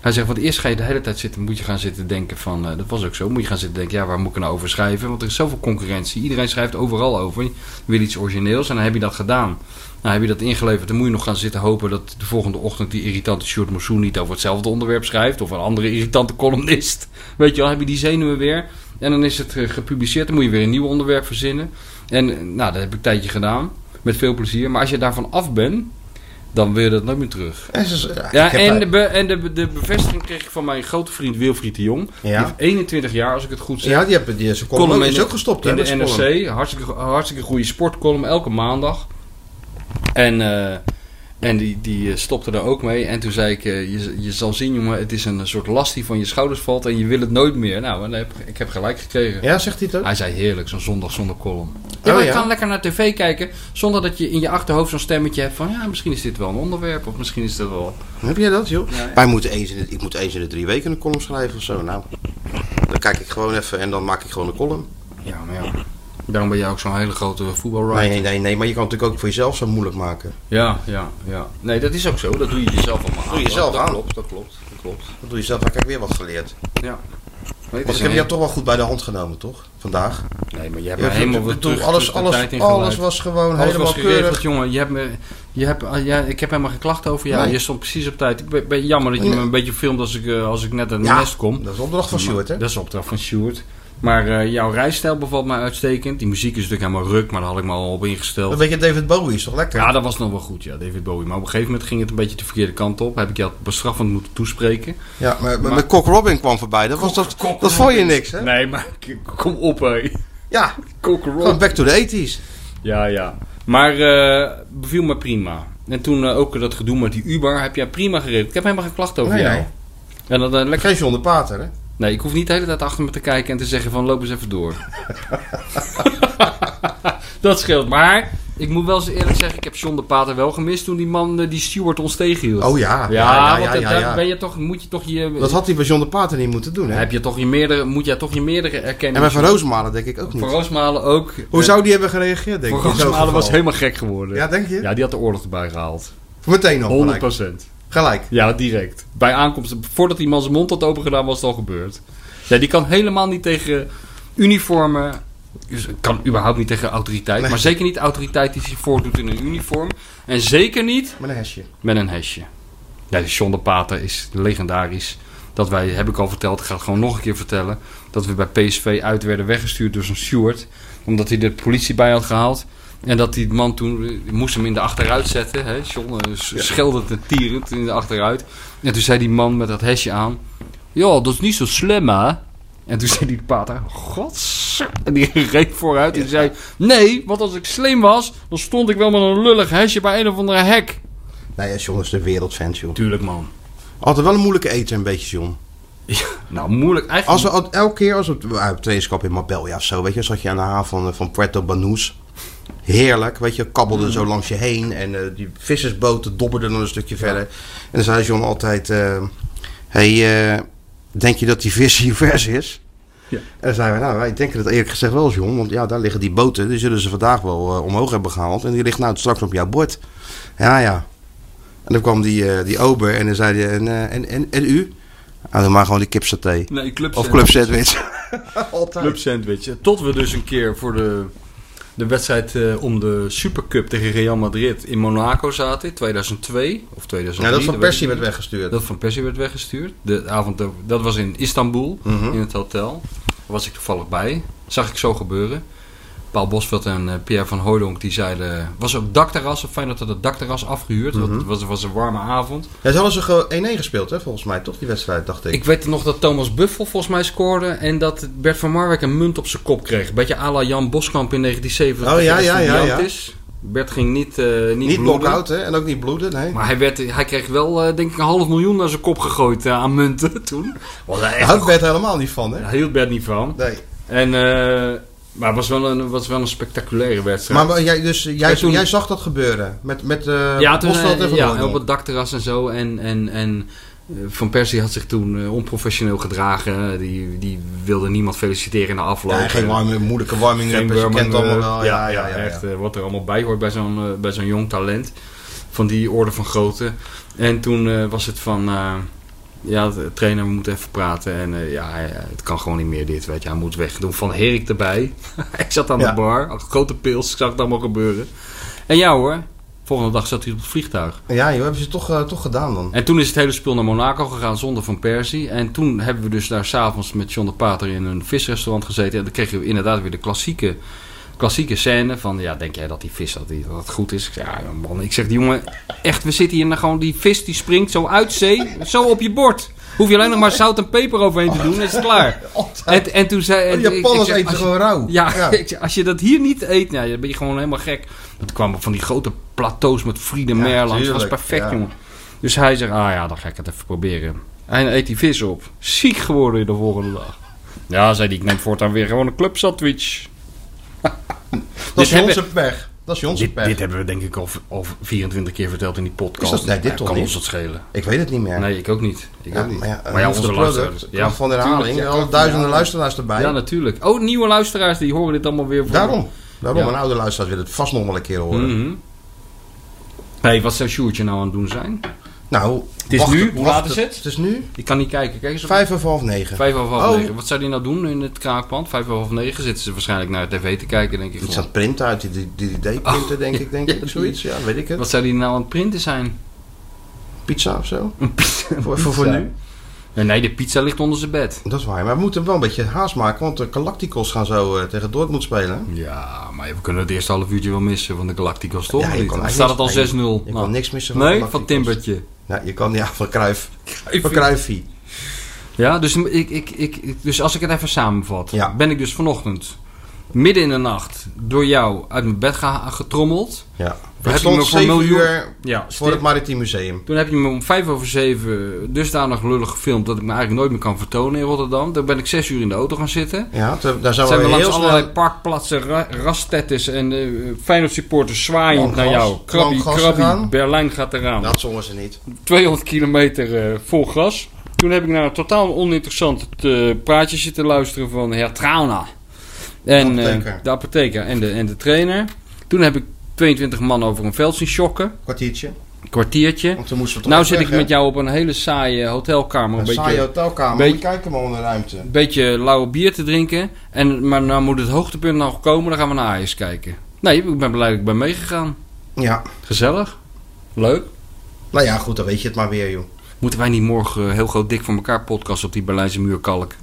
Hij zegt, want eerst ga je de hele tijd zitten, moet je gaan zitten denken van... eh, dat was ook zo, moet je gaan zitten denken, ja, waar moet ik nou over schrijven? Want er is zoveel concurrentie, iedereen schrijft overal over. Je wil iets origineels en dan heb je dat gedaan. Nou, heb je dat ingeleverd, dan moet je nog gaan zitten hopen... dat de volgende ochtend die irritante Sjoerd Mossoen niet over hetzelfde onderwerp schrijft... of een andere irritante columnist. Weet je wel, heb je die zenuwen weer. En dan is het eh, gepubliceerd. Dan moet je weer een nieuw onderwerp verzinnen. En eh, nou, dat heb ik een tijdje gedaan. Met veel plezier. Maar als je daarvan af bent, dan wil je dat nooit meer terug. En ze, ja, Ja, ik heb en, daar- de, be- en de, de bevestiging kreeg ik van mijn grote vriend Wilfried de Jong. Die Ja. heeft 21 jaar, als ik het goed zeg. ja, die hebben die, zijn column Column ook- in is de- ook gestopt. hè, in de met zijn column. NRC. Hartstikke, hartstikke goede sportcolumn, elke maandag. En, eh, en die, die eh, stopte daar ook mee. En toen zei ik, eh, je, je zal zien jongen, het is een soort last die van je schouders valt en je wil het nooit meer. Nou, en heb, ik heb gelijk gekregen. Ja, zegt hij het ook? Hij zei heerlijk, zo'n zondag zonder column. Oh, Ja, maar je ja. kan lekker naar tv kijken zonder dat je in je achterhoofd zo'n stemmetje hebt van... ja, misschien is dit wel een onderwerp of misschien is dit wel... Heb jij dat, joh? Wij moeten eens in de, ik moet eens in de drie weken een column schrijven of zo. Nou, dan kijk ik gewoon even en dan maak ik gewoon een column. Ja, maar ja. Daarom ben jij ook zo'n hele grote voetbalwriter. Nee, nee, nee, nee, maar je kan het natuurlijk ook voor jezelf zo moeilijk maken. Ja, ja, ja. Nee, dat is ook zo. Dat doe je jezelf allemaal aan. Doe je jezelf dat aan. Klopt, dat klopt, dat klopt. Dat doe je zelf, maar ik heb weer wat geleerd. Ja. Want ik heb jou toch wel goed bij de hand genomen, toch? Vandaag. Nee, maar je hebt Ja, me helemaal weer bedoel, terug, alles, terug de tijd alles, ingeleid. alles was gewoon Alles helemaal was keurig. geregeld, jongen. Je hebt me, je hebt, ah, ja, ik heb helemaal geen klachten over jou. Nee. Je stond precies op tijd. Ik ben, ben jammer dat je me een beetje filmt als ik, eh, als ik net aan de Ja, nest kom. Dat is opdracht van Stuart, hè? Dat is opdracht van Sjoerd. Maar eh, jouw rijstijl bevalt mij uitstekend. Die muziek is natuurlijk helemaal ruk, maar daar had ik me al op ingesteld. Een beetje David Bowie is toch lekker? Ja, dat was nog wel goed, ja, David Bowie. Maar op een gegeven moment ging het een beetje de verkeerde kant op. Heb ik jou bestraffend moeten toespreken. Ja, maar, maar, maar Cock Robin kwam voorbij. Dat, was, dat, Cock dat vond je niks, hè? Nee, maar k- kom op, hé. Ja, Cockroach. gewoon back to the 80s. Ja, ja. Maar eh, beviel me prima. En toen eh, ook dat gedoe met die Uber heb jij prima gereden. Ik heb helemaal geen klachten over Nee, jou. nee. En dan, eh, lekker... Geen John de Pater, hè? Nee, ik hoef niet de hele tijd achter me te kijken en te zeggen van loop eens even door. dat scheelt. Maar ik moet wel eens eerlijk zeggen, ik heb John de Pater wel gemist toen die man, eh, die Stewart ons tegenhield. Oh ja. ja, want dat- daar ben je toch, moet je toch je... Dat had hij bij John de Pater niet moeten doen, hè? heb je toch je meerdere, moet jij toch je meerdere En erkennen. bij Van Roosmalen denk ik ook niet. Van Roosmalen ook. Hoe Eh, zou die hebben gereageerd, denk Van ik? in zo'n Roosmalen was geval? helemaal gek geworden. Ja, denk je? Ja, die had de oorlog erbij gehaald. Meteen al 100 gelijk. Gelijk. Ja, direct. Bij aankomst, voordat die man zijn mond had opengedaan, was het al gebeurd. Ja, die kan helemaal niet tegen uniformen. dus Kan überhaupt niet tegen autoriteit. Nee. Maar zeker niet autoriteit die zich voordoet in een uniform. En zeker niet Met een hesje. met een hesje. Ja, de John de Pater is legendarisch. Dat wij, heb ik al verteld, ik ga het gewoon nog een keer vertellen. Dat we bij PSV uit werden weggestuurd door zo'n steward. Omdat hij de politie bij had gehaald. En dat die man toen eh, moest hem in de achteruit zetten. Hè? John eh, s- scheldend en tierend in de achteruit. En toen zei die man met dat hesje aan. Ja, dat is niet zo slim hè. En toen zei die pater, gods. En die reed vooruit en die zei... Nee, want als ik slim was, dan stond ik wel met een lullig hesje bij een of andere hek. Nee, John is de wereldfan, John. Tuurlijk, man. Altijd wel een moeilijke eten, een beetje, John. Nou, moeilijk. Als Eigenlijk. we al- elke keer als we op ah, op trainingskamp in Marbella of zo, weet je, zat je aan de haven van, van Puerto Banús. Heerlijk, weet je, kabbelde zo langs je heen en eh, die vissersboten dobberden dan een stukje verder. En dan zei John altijd: eh, Hey, eh, denk je dat die vis hier vers is? Ja. En dan zeiden we, nou, wij denken dat eerlijk gezegd wel, John. Want ja, daar liggen die boten, die zullen ze vandaag wel eh, omhoog hebben gehaald. En die ligt nou straks op jouw bord. Ja, ja. En dan kwam die, eh, die ober en dan zei hij, en, eh, en, en, en u? Nou, doe maar gewoon die kipsaté. Nee, club Of club sandwich. Altijd. Club Sandwich. Tot we dus een keer voor de, de wedstrijd eh, om de Supercup tegen Real Madrid in Monaco zaten. in 2002 of 2003. Ja, dat van weet ik Persie niet. werd weggestuurd. Dat van Persie werd weggestuurd. De avond, daar- dat was Mhm. in Istanbul, in het hotel. Daar was ik toevallig bij. Zag ik zo gebeuren. Een Paul Bosveld en eh, Pierre van Hooydonk, die zeiden... Was op dakterras, of fijn dat het dakterras afgehuurd. want Mhm. Het was, was een warme avond. Ja, ze hadden ze gewoon 1-1 gespeeld, hè, volgens mij, toch? Die wedstrijd, dacht ik. Ik weet nog dat Thomas Buffel volgens mij scoorde. En dat Bert van Marwijk een munt op zijn kop kreeg. Beetje à la Jan Boskamp in 1970. Oh, ja, als ja, hij ja, brand ja. Is. Bert ging niet, eh niet, niet bloeden. knock-out, hè? En ook niet bloeden, nee. Maar hij, werd, hij kreeg wel, eh, denk ik, een half miljoen naar zijn kop gegooid eh, aan munten toen. Was hij Daar echt... houdt Bert helemaal niet van, hè? Daar hield Bert niet van. Nee. En, eh, maar het was wel een, was wel een spectaculaire wedstrijd. Maar, maar jij, dus, jij, En toen- jij zag dat gebeuren met, met eh ja, toen, Bosveld en eh, Van ja, Hooydonk. op het dakterras en zo. En, en, en eh, Van Persie had zich toen eh, onprofessioneel gedragen. Die, die wilde niemand feliciteren na afloop. Ja, geen warme, moeilijke warming Geen up. Je Burman, kent allemaal eh, wel. Ja, ja, ja, ja, ja. echt. eh, wat er allemaal bij hoort bij zo'n eh, bij zo'n jong talent. Van die orde van grootte. En toen eh, was het van... eh, ja, de trainer, we moeten even praten. En eh, ja, hij- het kan gewoon niet meer dit, weet je. Hij moet weg. Doen Van Herik erbij. ik zat aan Ja. de bar. had Grote pils. Ik zag het allemaal gebeuren. En ja hoor. Volgende dag zat hij op het vliegtuig. Ja, joh, hebben ze toch, eh, toch gedaan dan. En toen is het hele spul naar Monaco gegaan zonder Van Persie. En toen hebben we dus daar s'avonds met John de Pater in een visrestaurant gezeten. En dan kregen we inderdaad weer de klassieke, klassieke scène van... Ja, denk jij dat die vis dat, die, dat het goed is? Ik zeg, ja man, ik zeg die jongen... Echt, we zitten hier en dan gewoon die vis die springt zo uit zee, zo op je bord. Hoef je alleen nog maar zout en peper overheen te doen en is het klaar. En, en toen zei... En, Die Oh, Japanners ik- ik zeg, eten als je- gewoon rauw. ja, ik zeg, als je dat hier niet eet, nou, dan ben je gewoon helemaal gek. Dat kwamen van die grote plateaus met Friede Ja, Mer langs. Dat was tuurlijk, perfect, ja. jongen. Dus hij zegt, ah ja, dan ga ik het even proberen. En hij eet die vis op. Ziek geworden de volgende dag. Ja, zei hij, ik neem voortaan weer gewoon een club sandwich. Dat is dit onze pech. Dat is onze Dit, pech. dit hebben we denk ik al, al 24 keer verteld in die podcast. Is dat- nee, dit Maar ja, toch kan niet? ons dat schelen. Ik weet het niet meer. Nee, ik ook niet. Ik Ja, ook niet. maar ja, eh, maar ja, onze luisteraars. Ja, van de herhaling. tuurlijk, ja, al kracht van de duizenden herhaling. luisteraars erbij. Ja, natuurlijk. Oh, nieuwe luisteraars, die horen dit allemaal weer. Voor Daarom. Daarom. Ja. Een oude luisteraar wil het vast nog wel een keer horen. Mhm. hey, wat zou Sjoertje nou aan het doen zijn? Nou, het is nu. Hoe laat is het? Het is nu Ik kan niet kijken. Kijk eens op vijf over half negen. vijf over half Oh. negen. Wat zou die nou doen in het kraakpand? Vijf over half negen zitten ze waarschijnlijk naar de tv te kijken, denk ik. Iets aan gewoon. het printen uit die- die die DD-printer, denk ik. Denk Oh, ja, ik. Zoiets, ja, weet ik het. Wat zou die nou aan het printen zijn? Pizza of zo. voor, voor, voor nu. Nee, Eh, nee, de pizza ligt onder zijn bed. Dat is waar, maar we moeten wel een beetje haast maken, want de Galacticos gaan zo eh, tegen Dortmund spelen. Ja, maar we kunnen het eerste half uurtje wel missen van de Galacticos, toch? Ja, je Of niet? kan Dan staat eigenlijk het al 6-0. niks- Je Nou. kan niks missen van Nee, de van Galacticos. Timbertje. Ja, Nou, je kan, ja, van Cruijff. Van Cruijffie. Ja, dus, ik, ik, ik, ik- dus als ik het even samenvat, Ja. ben ik dus vanochtend midden in de nacht door jou uit mijn bed geha- getrommeld. Ja. je Het me stond voor 7 miljoen- uur Ja, voor het Maritiem Museum. Toen heb je me om vijf over zeven dusdanig lullig gefilmd dat ik me eigenlijk nooit meer kan vertonen in Rotterdam. Toen ben ik zes uur in de auto gaan zitten. Ja, te- daar zijn, Zijn we we, heel langs snel... allerlei parkplaatsen, ra rastettes en eh Feyenoord supporters zwaaiend Lang naar gas, jou. lang Krabby, gas krabby, gegaan. Berlijn gaat eraan. Nou, Dat zongen ze niet. 200 kilometer eh, vol gas. Toen heb ik naar een totaal oninteressant eh, praatje zitten luisteren van Herr Trauna. En De eh, apotheker. de apotheker en de, en de trainer. Toen heb ik 22 man over een veld zien schokken. Kwartiertje. Kwartiertje. Want toen moesten we toch Nou ook zit weg, ik met hè? jou op een hele saaie hotelkamer. Een Een saaie beetje, hotelkamer. beetje- Moet je kijken maar onder de ruimte. een beetje lauwe bier te drinken. En, maar nou moet het hoogtepunt nog komen. Dan gaan we naar Ajax kijken. Nee, ik ben blij dat ik ben meegegaan. Ja. Gezellig. Leuk. Nou ja, goed, dan weet je het maar weer, joh. Moeten wij niet morgen eh, heel groot dik voor elkaar podcast op die Berlijnse muur kalken?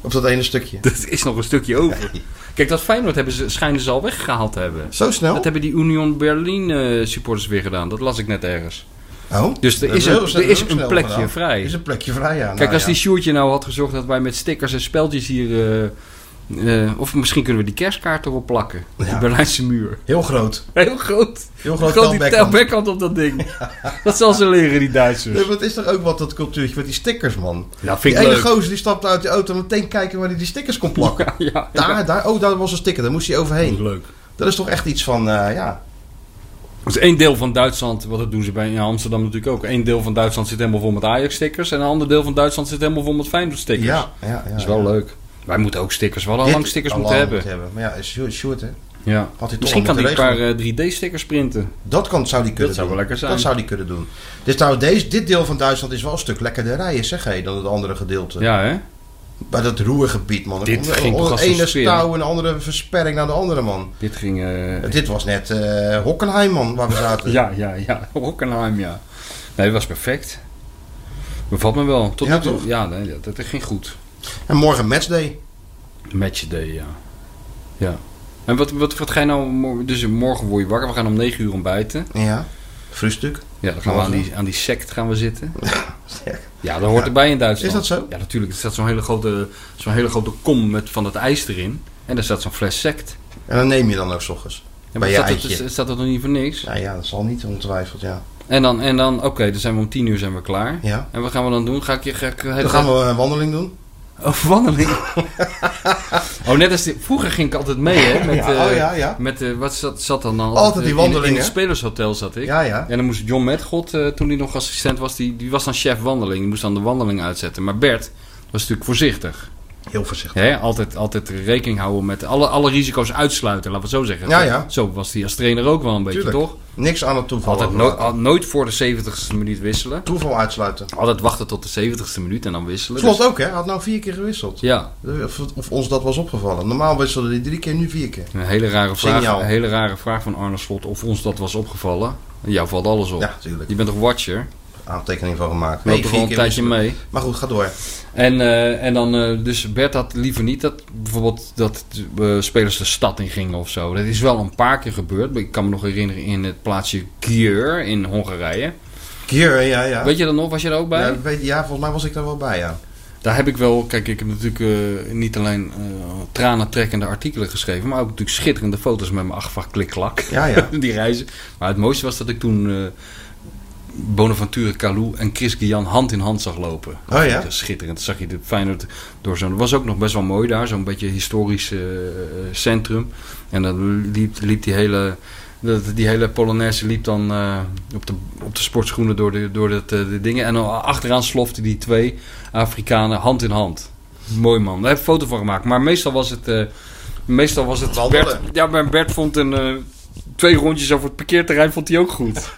Op dat ene stukje. Dat is nog een stukje over. Kijk, dat Feyenoord hebben ze, schijnen ze al weggehaald te hebben. Zo snel? Dat hebben die Union Berlin eh, supporters weer gedaan. Dat las ik net ergens. Oh. Dus er Dat is heel een- snel- er is heel een snel plekje gedaan. vrij. Er is een plekje vrij, ja. Kijk, Nou als ja. die Sjoertje nou had gezorgd dat wij met stickers en speltjes hier... eh, eh, of misschien kunnen we die kerstkaart erop plakken. Op die Ja. Berlijnse muur. Heel groot. Heel groot. Heel groot Groot die telbackhand. telbackhand op dat ding. Dat zal ze leren, die Duitsers. Nee, maar het is toch ook wat dat cultuurtje met die stickers, man. Ja, die ene gozer die stapte uit de auto en meteen kijken waar hij die stickers kon plakken. Ja, ja. Daar, daar, oh, daar was een sticker, daar moest hij Dat is overheen. leuk. Dat is toch echt iets van, eh, ja. Dat is één deel van Duitsland, wat dat doen ze bij in Amsterdam natuurlijk ook. Eén deel van Duitsland zit helemaal vol met Ajax-stickers. En een ander deel van Duitsland zit helemaal vol met Feyenoord-stickers. Ja, ja, ja. Dat is wel leuk. Wij moeten ook stickers. We hadden al lang stickers moeten hebben. Maar ja, is Sjoerd- Sjoerd, hè. Ja. Had hij Misschien toch kan al die moeten een paar eh, 3D-stickers printen. Dat kan, zou die kunnen zou doen. wel lekker zijn. Dat zou die kunnen doen. Dus trouwens, deze, dit deel van Duitsland is wel een stuk lekkerder rijden, zeg hé, dan het andere gedeelte. Ja, hè? Bij dat Roergebied, man. Dit Om de- ging om toch de als een ene speer. touw en de andere versperring naar de andere, man. Dit ging... eh, Dit was net eh Hockenheim, man, waar we zaten. Ja, ja, ja. Hockenheim, ja. Nee, dat was perfect. Bevalt me wel. Tot Ja, nu toe- toch? Ja, nee, dat, dat ging goed. En morgen matchday. Matchday, ja. Ja. En wat, wat, wat ga je nou... mor- Dus morgen word je wakker. We gaan om 9 uur ontbijten. Ja. Frühstuk. Ja, dan gaan we aan die, aan die sect gaan we zitten. Ja. Ja, dat hoort erbij in Duitsland. Is dat zo? Ja, natuurlijk. Er staat zo'n hele grote, zo'n hele grote kom met, van dat ijs erin. En daar staat zo'n fles sect. En dan neem je dan ook 's ochtends. Ja, Bij je staat, eitje. dat, staat dat nog niet voor niks? Nou ja, dat zal niet ongetwijfeld, ja. En dan, en dan oké, dan zijn we om 10 uur zijn we klaar. Ja. En wat gaan we dan doen? Ga ik je... Ga ik, Dan gaan we een wandeling doen. Oh, wandeling. oh, net als... die- vroeger ging ik altijd mee, hè? Met, Ja, oh eh, ja, ja. Met, eh, wat zat, zat dan al? Altijd die In, wandelingen. het spelershotel zat ik. Ja, ja. En dan moest John Metgod, eh, toen hij nog assistent was, die, die was dan chef wandeling. Die moest dan de wandeling uitzetten. Maar Bert was natuurlijk voorzichtig. Heel voorzichtig. Hè? Altijd, altijd rekening houden met alle, alle risico's uitsluiten, laten we het zo zeggen. Ja, ja. Zo was hij als trainer ook wel een beetje, Tuurlijk. toch? Niks aan het toeval. Altijd no- overlaten. al- nooit voor de 70ste minuut wisselen. Toeval uitsluiten. Altijd wachten tot de 70ste minuut en dan wisselen. Slot ook, hè? Had nou vier keer gewisseld. Dus- ja, Of, of ons dat was opgevallen. Normaal wisselde hij drie keer, nu vier keer. Een hele rare vraag, Signaal. een hele rare vraag van Arne Slot of ons dat was opgevallen. Jou valt alles op. Ja, natuurlijk. Je bent toch watcher? Aantekening van gemaakt. Loop Nee, toch vier al een keer tijdje wisselen. mee. Maar goed, ga door. En, eh, en dan, eh, dus Bert had liever niet dat bijvoorbeeld dat eh, spelers de stad in gingen of zo. Dat is wel een paar keer gebeurd. Ik kan me nog herinneren in het plaatsje Gier in Hongarije. Kier, eh, ja, ja. Weet je dat nog? Was je er ook bij? Ja, weet, ja, volgens mij was ik daar wel bij, ja. Daar heb ik wel, kijk, ik heb natuurlijk eh, niet alleen eh, tranentrekkende artikelen geschreven, maar ook natuurlijk schitterende foto's met mijn achtvak klikklak. Ja, ja. die reizen. Maar het mooiste was dat ik toen eh, Bonaventure Calou en Chris Guyan hand in hand zag lopen. Oh, ja? Dat is schitterend. Dat zag je de Feyenoord door zo'n... Het was ook nog best wel mooi daar, zo'n beetje historisch eh, centrum. En dan liep, liep die hele... dat- Die hele Polonaise liep dan eh, op, de, op de sportschoenen door, de, door dat, eh, de dingen. En dan achteraan sloften die twee Afrikanen hand in hand. Mooi man. Daar heb ik een foto van gemaakt. Maar meestal was het... eh, meestal was het Wandelen. Bert, ja, maar Bert vond een... eh, twee rondjes over het parkeerterrein vond hij ook goed.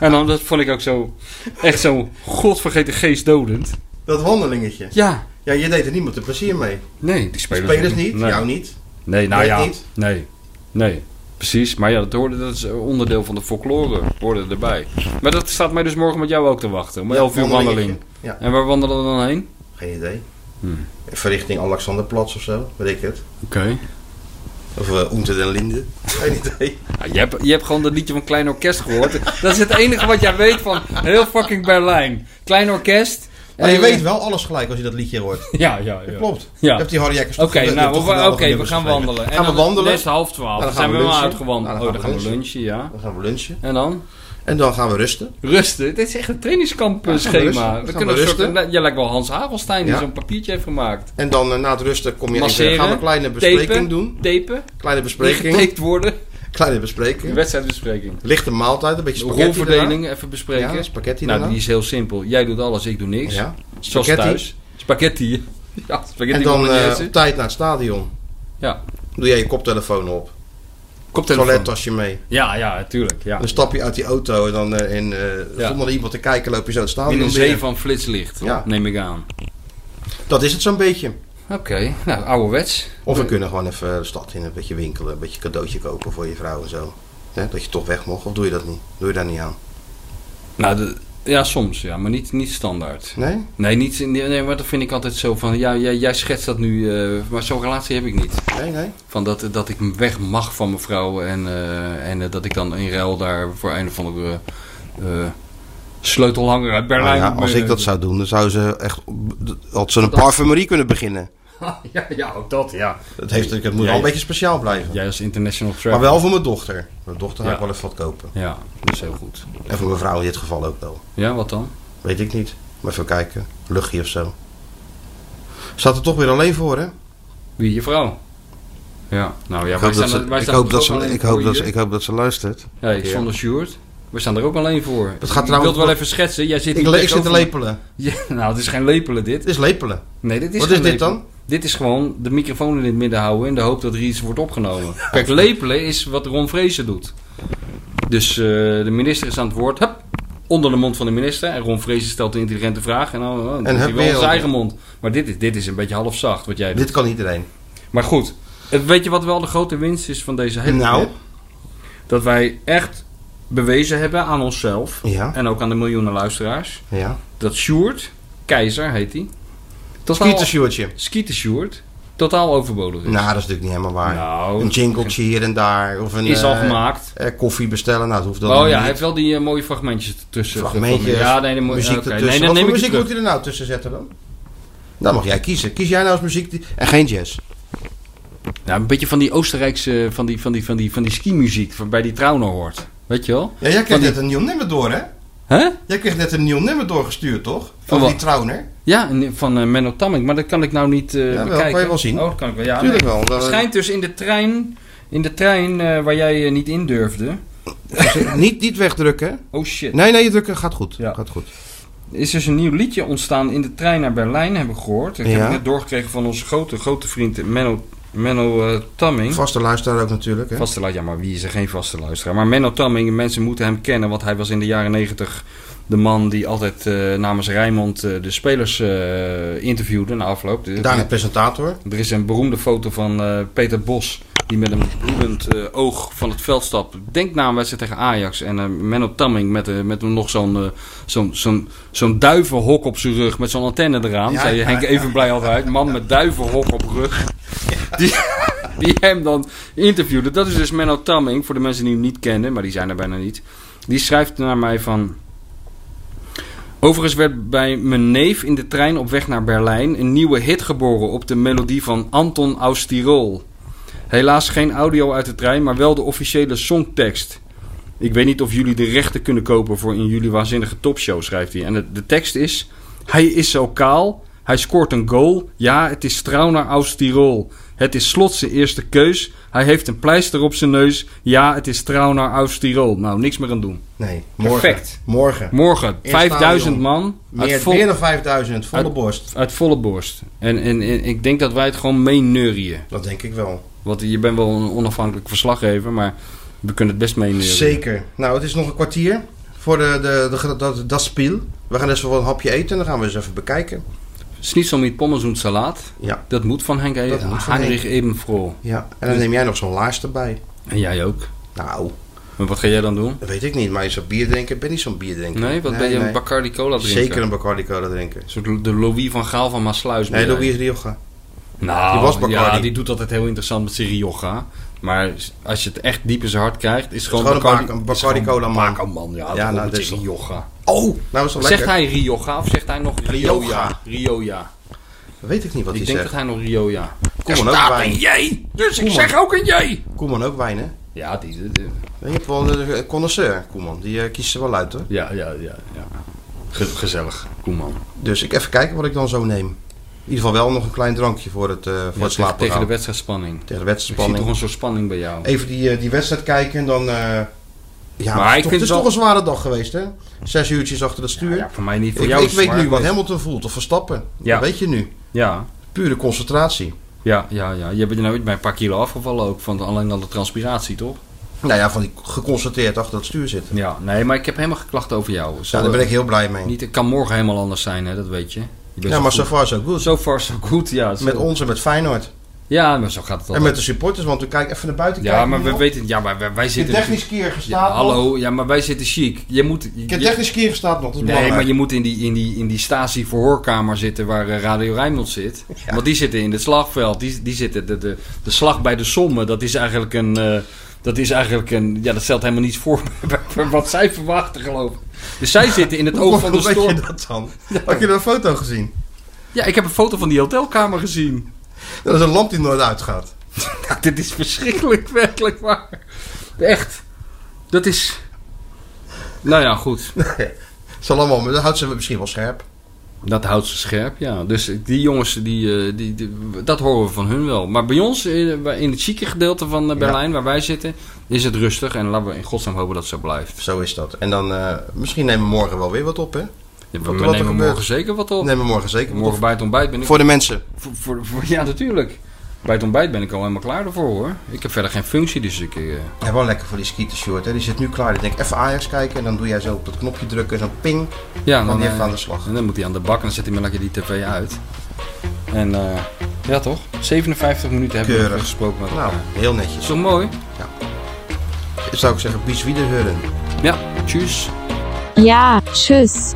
en dan, dat vond ik ook zo... Echt zo godvergeten geestdodend. Dat wandelingetje. Ja. Ja, je deed er niemand een plezier mee. Nee, die spelers, Spelers ook niet, Nee. jou niet. Nee, nou Bert ja. niet. Nee. Nee. Precies. Maar ja, dat, hoorde, dat is onderdeel van de folklore. Hoorde erbij. Maar dat staat mij dus morgen met jou ook te wachten. Om Ja, 11 uur wandeling. wandelingetje. Ja. En waar wandelen we dan heen? Geen idee. Hmm. Verrichting Alexanderplatz of zo, weet ik het. Oké. Of uh, Oente den Linde. Geen idee. je, hebt, je hebt gewoon dat liedje van Klein Orkest gehoord. dat is het enige wat jij weet van heel fucking Berlijn. Klein Orkest. Maar je En- weet wel alles gelijk als je dat liedje hoort. Ja, eh. ja, ja. Klopt. Ja. Je hebt die Harry Jekkers Oké, toch ge- nou, toch we, geweldige oké, we nummers gaan geschreven. wandelen. En Gaan we dan wandelen? Best half twaalf. Nou, Dan dan gaan zijn we we wel lunchen. uitgewandeld. Nou, Oh, dan gaan we lunchen, ja. Dan gaan we lunchen. En dan? En dan gaan we rusten. Rusten. Dit is echt een Ja, gaan eh, we rusten. trainingskampschema. Gaan We we kunnen een soort... rusten. Jij lijkt wel Hans Havelstein die Ja. zo'n papiertje heeft gemaakt. En dan eh, na het rusten kom je even, Masseren. gaan we een kleine bespreking tapen, doen. Tapen. Kleine bespreking. Getaped worden. Kleine Een bespreking. wedstrijdbespreking. Lichte maaltijd, een beetje spaghetti Rolverdeling even bespreken. Ja, spaghetti Nou, daarna. die is heel simpel. Jij doet alles, ik doe niks. daarna. Ja. Zoals Spaghetti. thuis. Spaghetti. Ja, spaghetti En dan eh, bolognese. op tijd naar het stadion. Ja. Doe jij je koptelefoon op. Koptelefoon. Toilettasje mee. Ja, ja, tuurlijk. Ja. Dan stap je uit die auto en dan eh, in, eh, Ja. zonder iemand te kijken loop je zo het stadion In een binnen. zee van flitslicht, Ja. neem ik aan. Dat is het zo'n beetje. Oké, nou, ouderwets. Of we kunnen gewoon even de stad in, een beetje winkelen, een beetje cadeautje kopen voor je vrouw en zo. Hè, dat je toch weg mocht, of doe je dat niet? Doe je daar niet aan? Nou, de- ja, soms, ja, maar niet, niet standaard. Nee? Nee, niet, nee, nee, maar dat vind ik altijd zo van, ja, jij, jij schetst dat nu, eh, maar zo'n relatie heb ik niet. Nee, nee. Van dat, dat ik weg mag van mijn vrouw en, eh, en eh, dat ik dan in ruil daar voor een of andere eh, sleutelhanger uit Berlijn... eh, Nou ja, als ik dat zou doen, dan zou ze echt, had ze een parfumerie kunnen beginnen. ja, ja, ook dat, ja. Dat heeft, het moet wel Jij- een beetje speciaal blijven. Jij als international Maar traveler. wel voor mijn dochter. Mijn dochter ga ik Ja. wel even wat kopen. Ja, dat is heel goed. En voor mijn vrouw in dit geval ook wel. Ja, wat dan? Weet ik niet. Maar even kijken. Luchtje of zo. Staat er toch weer alleen voor, hè? Wie, je vrouw? Ja, nou ja, Ik hoop dat ze- ik hoop dat ze- ik hoop dat ze- ik hoop dat ze luistert. Hey, zonder Sjoerd. We staan er ook alleen voor. Het gaat ik wil trouwens- het wel even schetsen. Jij zit Ik, hier le- ik zit te tegenover me. lepelen. Ja, nou, het is geen lepelen dit. Het is lepelen. Nee, dit is Wat geen is dit lepelen. dan? Dit is gewoon de microfoon in het midden houden in de hoop dat er iets wordt opgenomen. Kijk, lepelen is wat Ron Vrezen doet. Dus eh, de minister is aan het woord. Hup, onder de mond van de minister. En Ron Vrezen stelt een intelligente vraag. En dan, oh, dan En doet hij hup, wel in weer. zijn eigen mond. Maar dit is, dit is een beetje halfzacht wat jij doet. Dit kan iedereen. Maar goed, eh, weet je wat wel de grote winst is van deze hele Nou? clip? Dat wij echt bewezen hebben aan onszelf Ja. en ook aan de miljoenen luisteraars Ja. dat Sjoerd, keizer heet hij, dat Pieter Sjoerdje. Dus- Skeeter Sjoerd, totaal overbodig is. Nou, dat is natuurlijk niet helemaal waar. Nou, een jingletje hier en daar. Of een, is al eh, gemaakt. eh, koffie bestellen. Nou, dat hoeft dan Oh ja, niet. hij heeft wel die eh, mooie fragmentjes ertussen. Fragmentjes, gevonden. Ja, nee, dan moet muziek oké. ertussen. Nee, dan Wat neem voor ik het muziek moet terug. hij er nou tussen zetten dan? Dan mag jij kiezen. Kies jij nou eens muziek die- en geen jazz. Ja, een beetje van die Oostenrijkse, eh, van die, van die, van die, van die skimuziek, van bij die Trauner hoort. Weet je wel? Ja, jij Van kreeg die- net een nieuw nummer door, hè? Hè? Jij kreeg net een nieuw nummer doorgestuurd, toch? Van Oh, wat? die trouwner. Ja, en van eh, Menno Tamming, maar dat kan ik nou niet eh Ja, wel, bekijken. kan je wel zien. Oh, dat kan ik wel, ja. Tuurlijk nee. wel. eh, Het schijnt dus in de trein, in de trein eh, waar jij eh, niet in durfde. Dus, eh, niet, niet wegdrukken. Oh shit. Nee, nee, je drukken gaat goed. Ja. Gaat goed. is dus een nieuw liedje ontstaan in de trein naar Berlijn, hebben we gehoord. Ik heb Ja. het net doorgekregen van onze grote, grote vriend Menno, Menno eh, Tamming. Vaste luisteraar ook natuurlijk, hè? Vaste luisteraar, ja, maar wie is er geen vaste luisteraar? Maar Menno Tamming, mensen moeten hem kennen, want hij was in de jaren negentig de man die altijd eh, namens Rijnmond eh, de spelers eh, interviewde na afloop. De- Daarna presentator. er is een beroemde foto van eh, Peter Bos. Die met een bloedend eh, oog van het veld stapt. Denk na een wedstrijd tegen Ajax. En eh Menno Tamming met, eh, met nog zo'n eh, zo'n zo'n zo'n duivenhok op zijn rug. Met zo'n antenne eraan. Ja, zei ja, Henk ja. even blij altijd. Man met duivenhok op rug. Die, die hem dan interviewde. Dat is dus Menno Tamming. Voor de mensen die hem niet kennen. Maar die zijn er bijna niet. Die schrijft naar mij van... Overigens werd bij mijn neef in de trein op weg naar Berlijn een nieuwe hit geboren op de melodie van Anton aus Tirol. Helaas geen audio uit de trein, maar wel de officiële songtekst. Ik weet niet of jullie de rechten kunnen kopen voor in jullie waanzinnige topshow, schrijft hij. En de, de tekst is: Hij is zo kaal, hij scoort een goal. Ja, het is trouw naar aus Tirol. Het is slot zijn eerste keus. Hij heeft een pleister op zijn neus. Ja, het is trouw naar aus Tirol. Nou, niks meer aan doen. Nee, morgen. Perfect. Morgen. Morgen, In het 5000 stadion. man. uit Meer, vol- meer dan 5000, volle Uit- borst. Uit volle borst. En, en, en ik denk dat wij het gewoon meeneurien. Dat denk ik wel. Want je bent wel een onafhankelijk verslaggever, maar we kunnen het best meeneurien. Zeker. Nou, het is nog een kwartier voor de, de, de, dat, dat spiel. We gaan eens wel een hapje eten en dan gaan we eens even bekijken. Schnitzel met pommes en salaat. Ja. Dat moet van Henk Dat moet van Heinrich Ebenfroh. ja. En Dus- dan neem jij nog zo'n laars erbij. En jij ook. Nou, Maar wat ga jij dan doen? dat weet ik niet. Maar je zou bier drinken. Ik ben niet zo'n bier drinken. Nee, wat ben je een nee. Bacardi Cola drinken? Zeker een Bacardi Cola drinken. Een soort de Louis van Gaal van Maasluis. ben Nee, jij. Louis Rioja. Nou, Die was Bacardi. ja, die doet altijd heel interessant met zijn Rioja. Maar als je het echt diep in zijn hart krijgt, is het gewoon, gewoon een Bacardi, bak- een is Bacardi gewoon Cola man. Baca man, ja. Ja, ja nou, dat dat is is- Rioja. Oh, nou is dat Zegt lekker. hij Rioja of zegt hij nog Rioja? Rioja. Rioja. Weet ik niet wat Ik hij denk dat zegt. hij nog Rioja. Koeman ook wijn. J, dus ik zeg ook een J. Koeman ook wijn, hè? Ja, die, die- die- Je hebt wel een eh, connoisseur, Koeman. Die eh, kiest er wel uit, hoor. ja, ja, ja. ja. Ge- gezellig, Koeman. Dus ik even kijken wat ik dan zo neem. In ieder geval wel nog een klein drankje voor het, eh voor Ja, het slapen tegen de gaan. wedstrijdspanning. Tegen de Ik zie toch wedstrijdspanning. een soort spanning bij jou. Even die, eh, die wedstrijd kijken en dan... eh, ja, Maar maar ik toch, vind het is wel- toch een zware dag geweest, hè? Zes uurtjes achter het stuur. Ja, voor mij niet. Voor ik jou ik is het weet nu zwaar wat geweest. Hamilton voelt, of Verstappen. Ja. Dat weet je nu. Ja, Pure concentratie. ja, ja, ja. Je bent er nou bij een paar kilo afgevallen ook. Van alleen al de transpiratie, toch? Nou ja, van die geconcentreerd achter het stuur zitten. Ja, nee, maar ik heb helemaal geklachten over jou. Ja, Zou- daar ben ik heel blij mee. Niet, het kan morgen helemaal anders zijn, hè, dat weet je. je bent ja, zo maar goed. so far so good. So far, so good, ja. zo- Met ons en met Feyenoord. Ja, maar zo gaat het En altijd. met de supporters, want we kijken even naar buiten. Ja, kijken maar nu we nog. weten... Ja, maar wij, wij Ik heb zitten... dus technisch keer gestaan. ja, nog. hallo, ja, maar wij zitten chic. Je moet... je- Ik heb technisch keer gestaan nog. Dat is Nee, maar belangrijk. je moet in die, in die, in die statie-verhoorkamer zitten waar eh, Radio Rijnmond zit. Ja. Want die zitten in het slagveld. Die, die zitten de, de, de slag bij de sommen. Dat is eigenlijk een... eh, dat is eigenlijk een... Ja, dat stelt helemaal niets voor bij- bij wat zij verwachten, geloof ik. Dus zij zitten in het oog van de Hoe weet storm. je dat dan? Had je er een foto gezien? Ja, ik heb een foto van die hotelkamer gezien. Dat is een lamp die nooit uitgaat. Ja, dit is verschrikkelijk, werkelijk waar. Echt. Dat is. Nou ja, goed. Zal allemaal, maar dat houdt ze misschien wel scherp. Dat houdt ze scherp, ja. Dus die jongens, die, eh, die, die- dat horen we van hun wel. Maar bij ons, in in het chique gedeelte van eh, Berlijn, waar wij zitten, is het rustig. En laten we in godsnaam hopen dat het zo blijft. Zo is dat. En dan, eh, misschien nemen we morgen wel weer wat op, hè? We er nemen morgen gebeurt. zeker wat op. Nemen we morgen zeker wat morgen bij het ontbijt ben op. ik... Voor de mensen. voor- voor- voor- ja, natuurlijk. Bij het ontbijt ben ik al helemaal klaar ervoor, hoor. Ik heb verder geen functie, dus ik... eh, Ja, wel lekker voor die skieten short, hè? Die zit nu klaar. Ik denk even Ajax kijken en dan doe jij zo op dat knopje drukken en dan ping. Ja, Dan eh, even aan de slag. En dan moet hij aan de bak en dan zet hij maar lekker die tv uit. En eh, ja toch, 57 minuten hebben we Keurig. gesproken met elkaar. Nou, heel netjes. Is toch mooi? Zou ik zeggen, bis wiederhören. Ja, tjus. Ja, tschüss.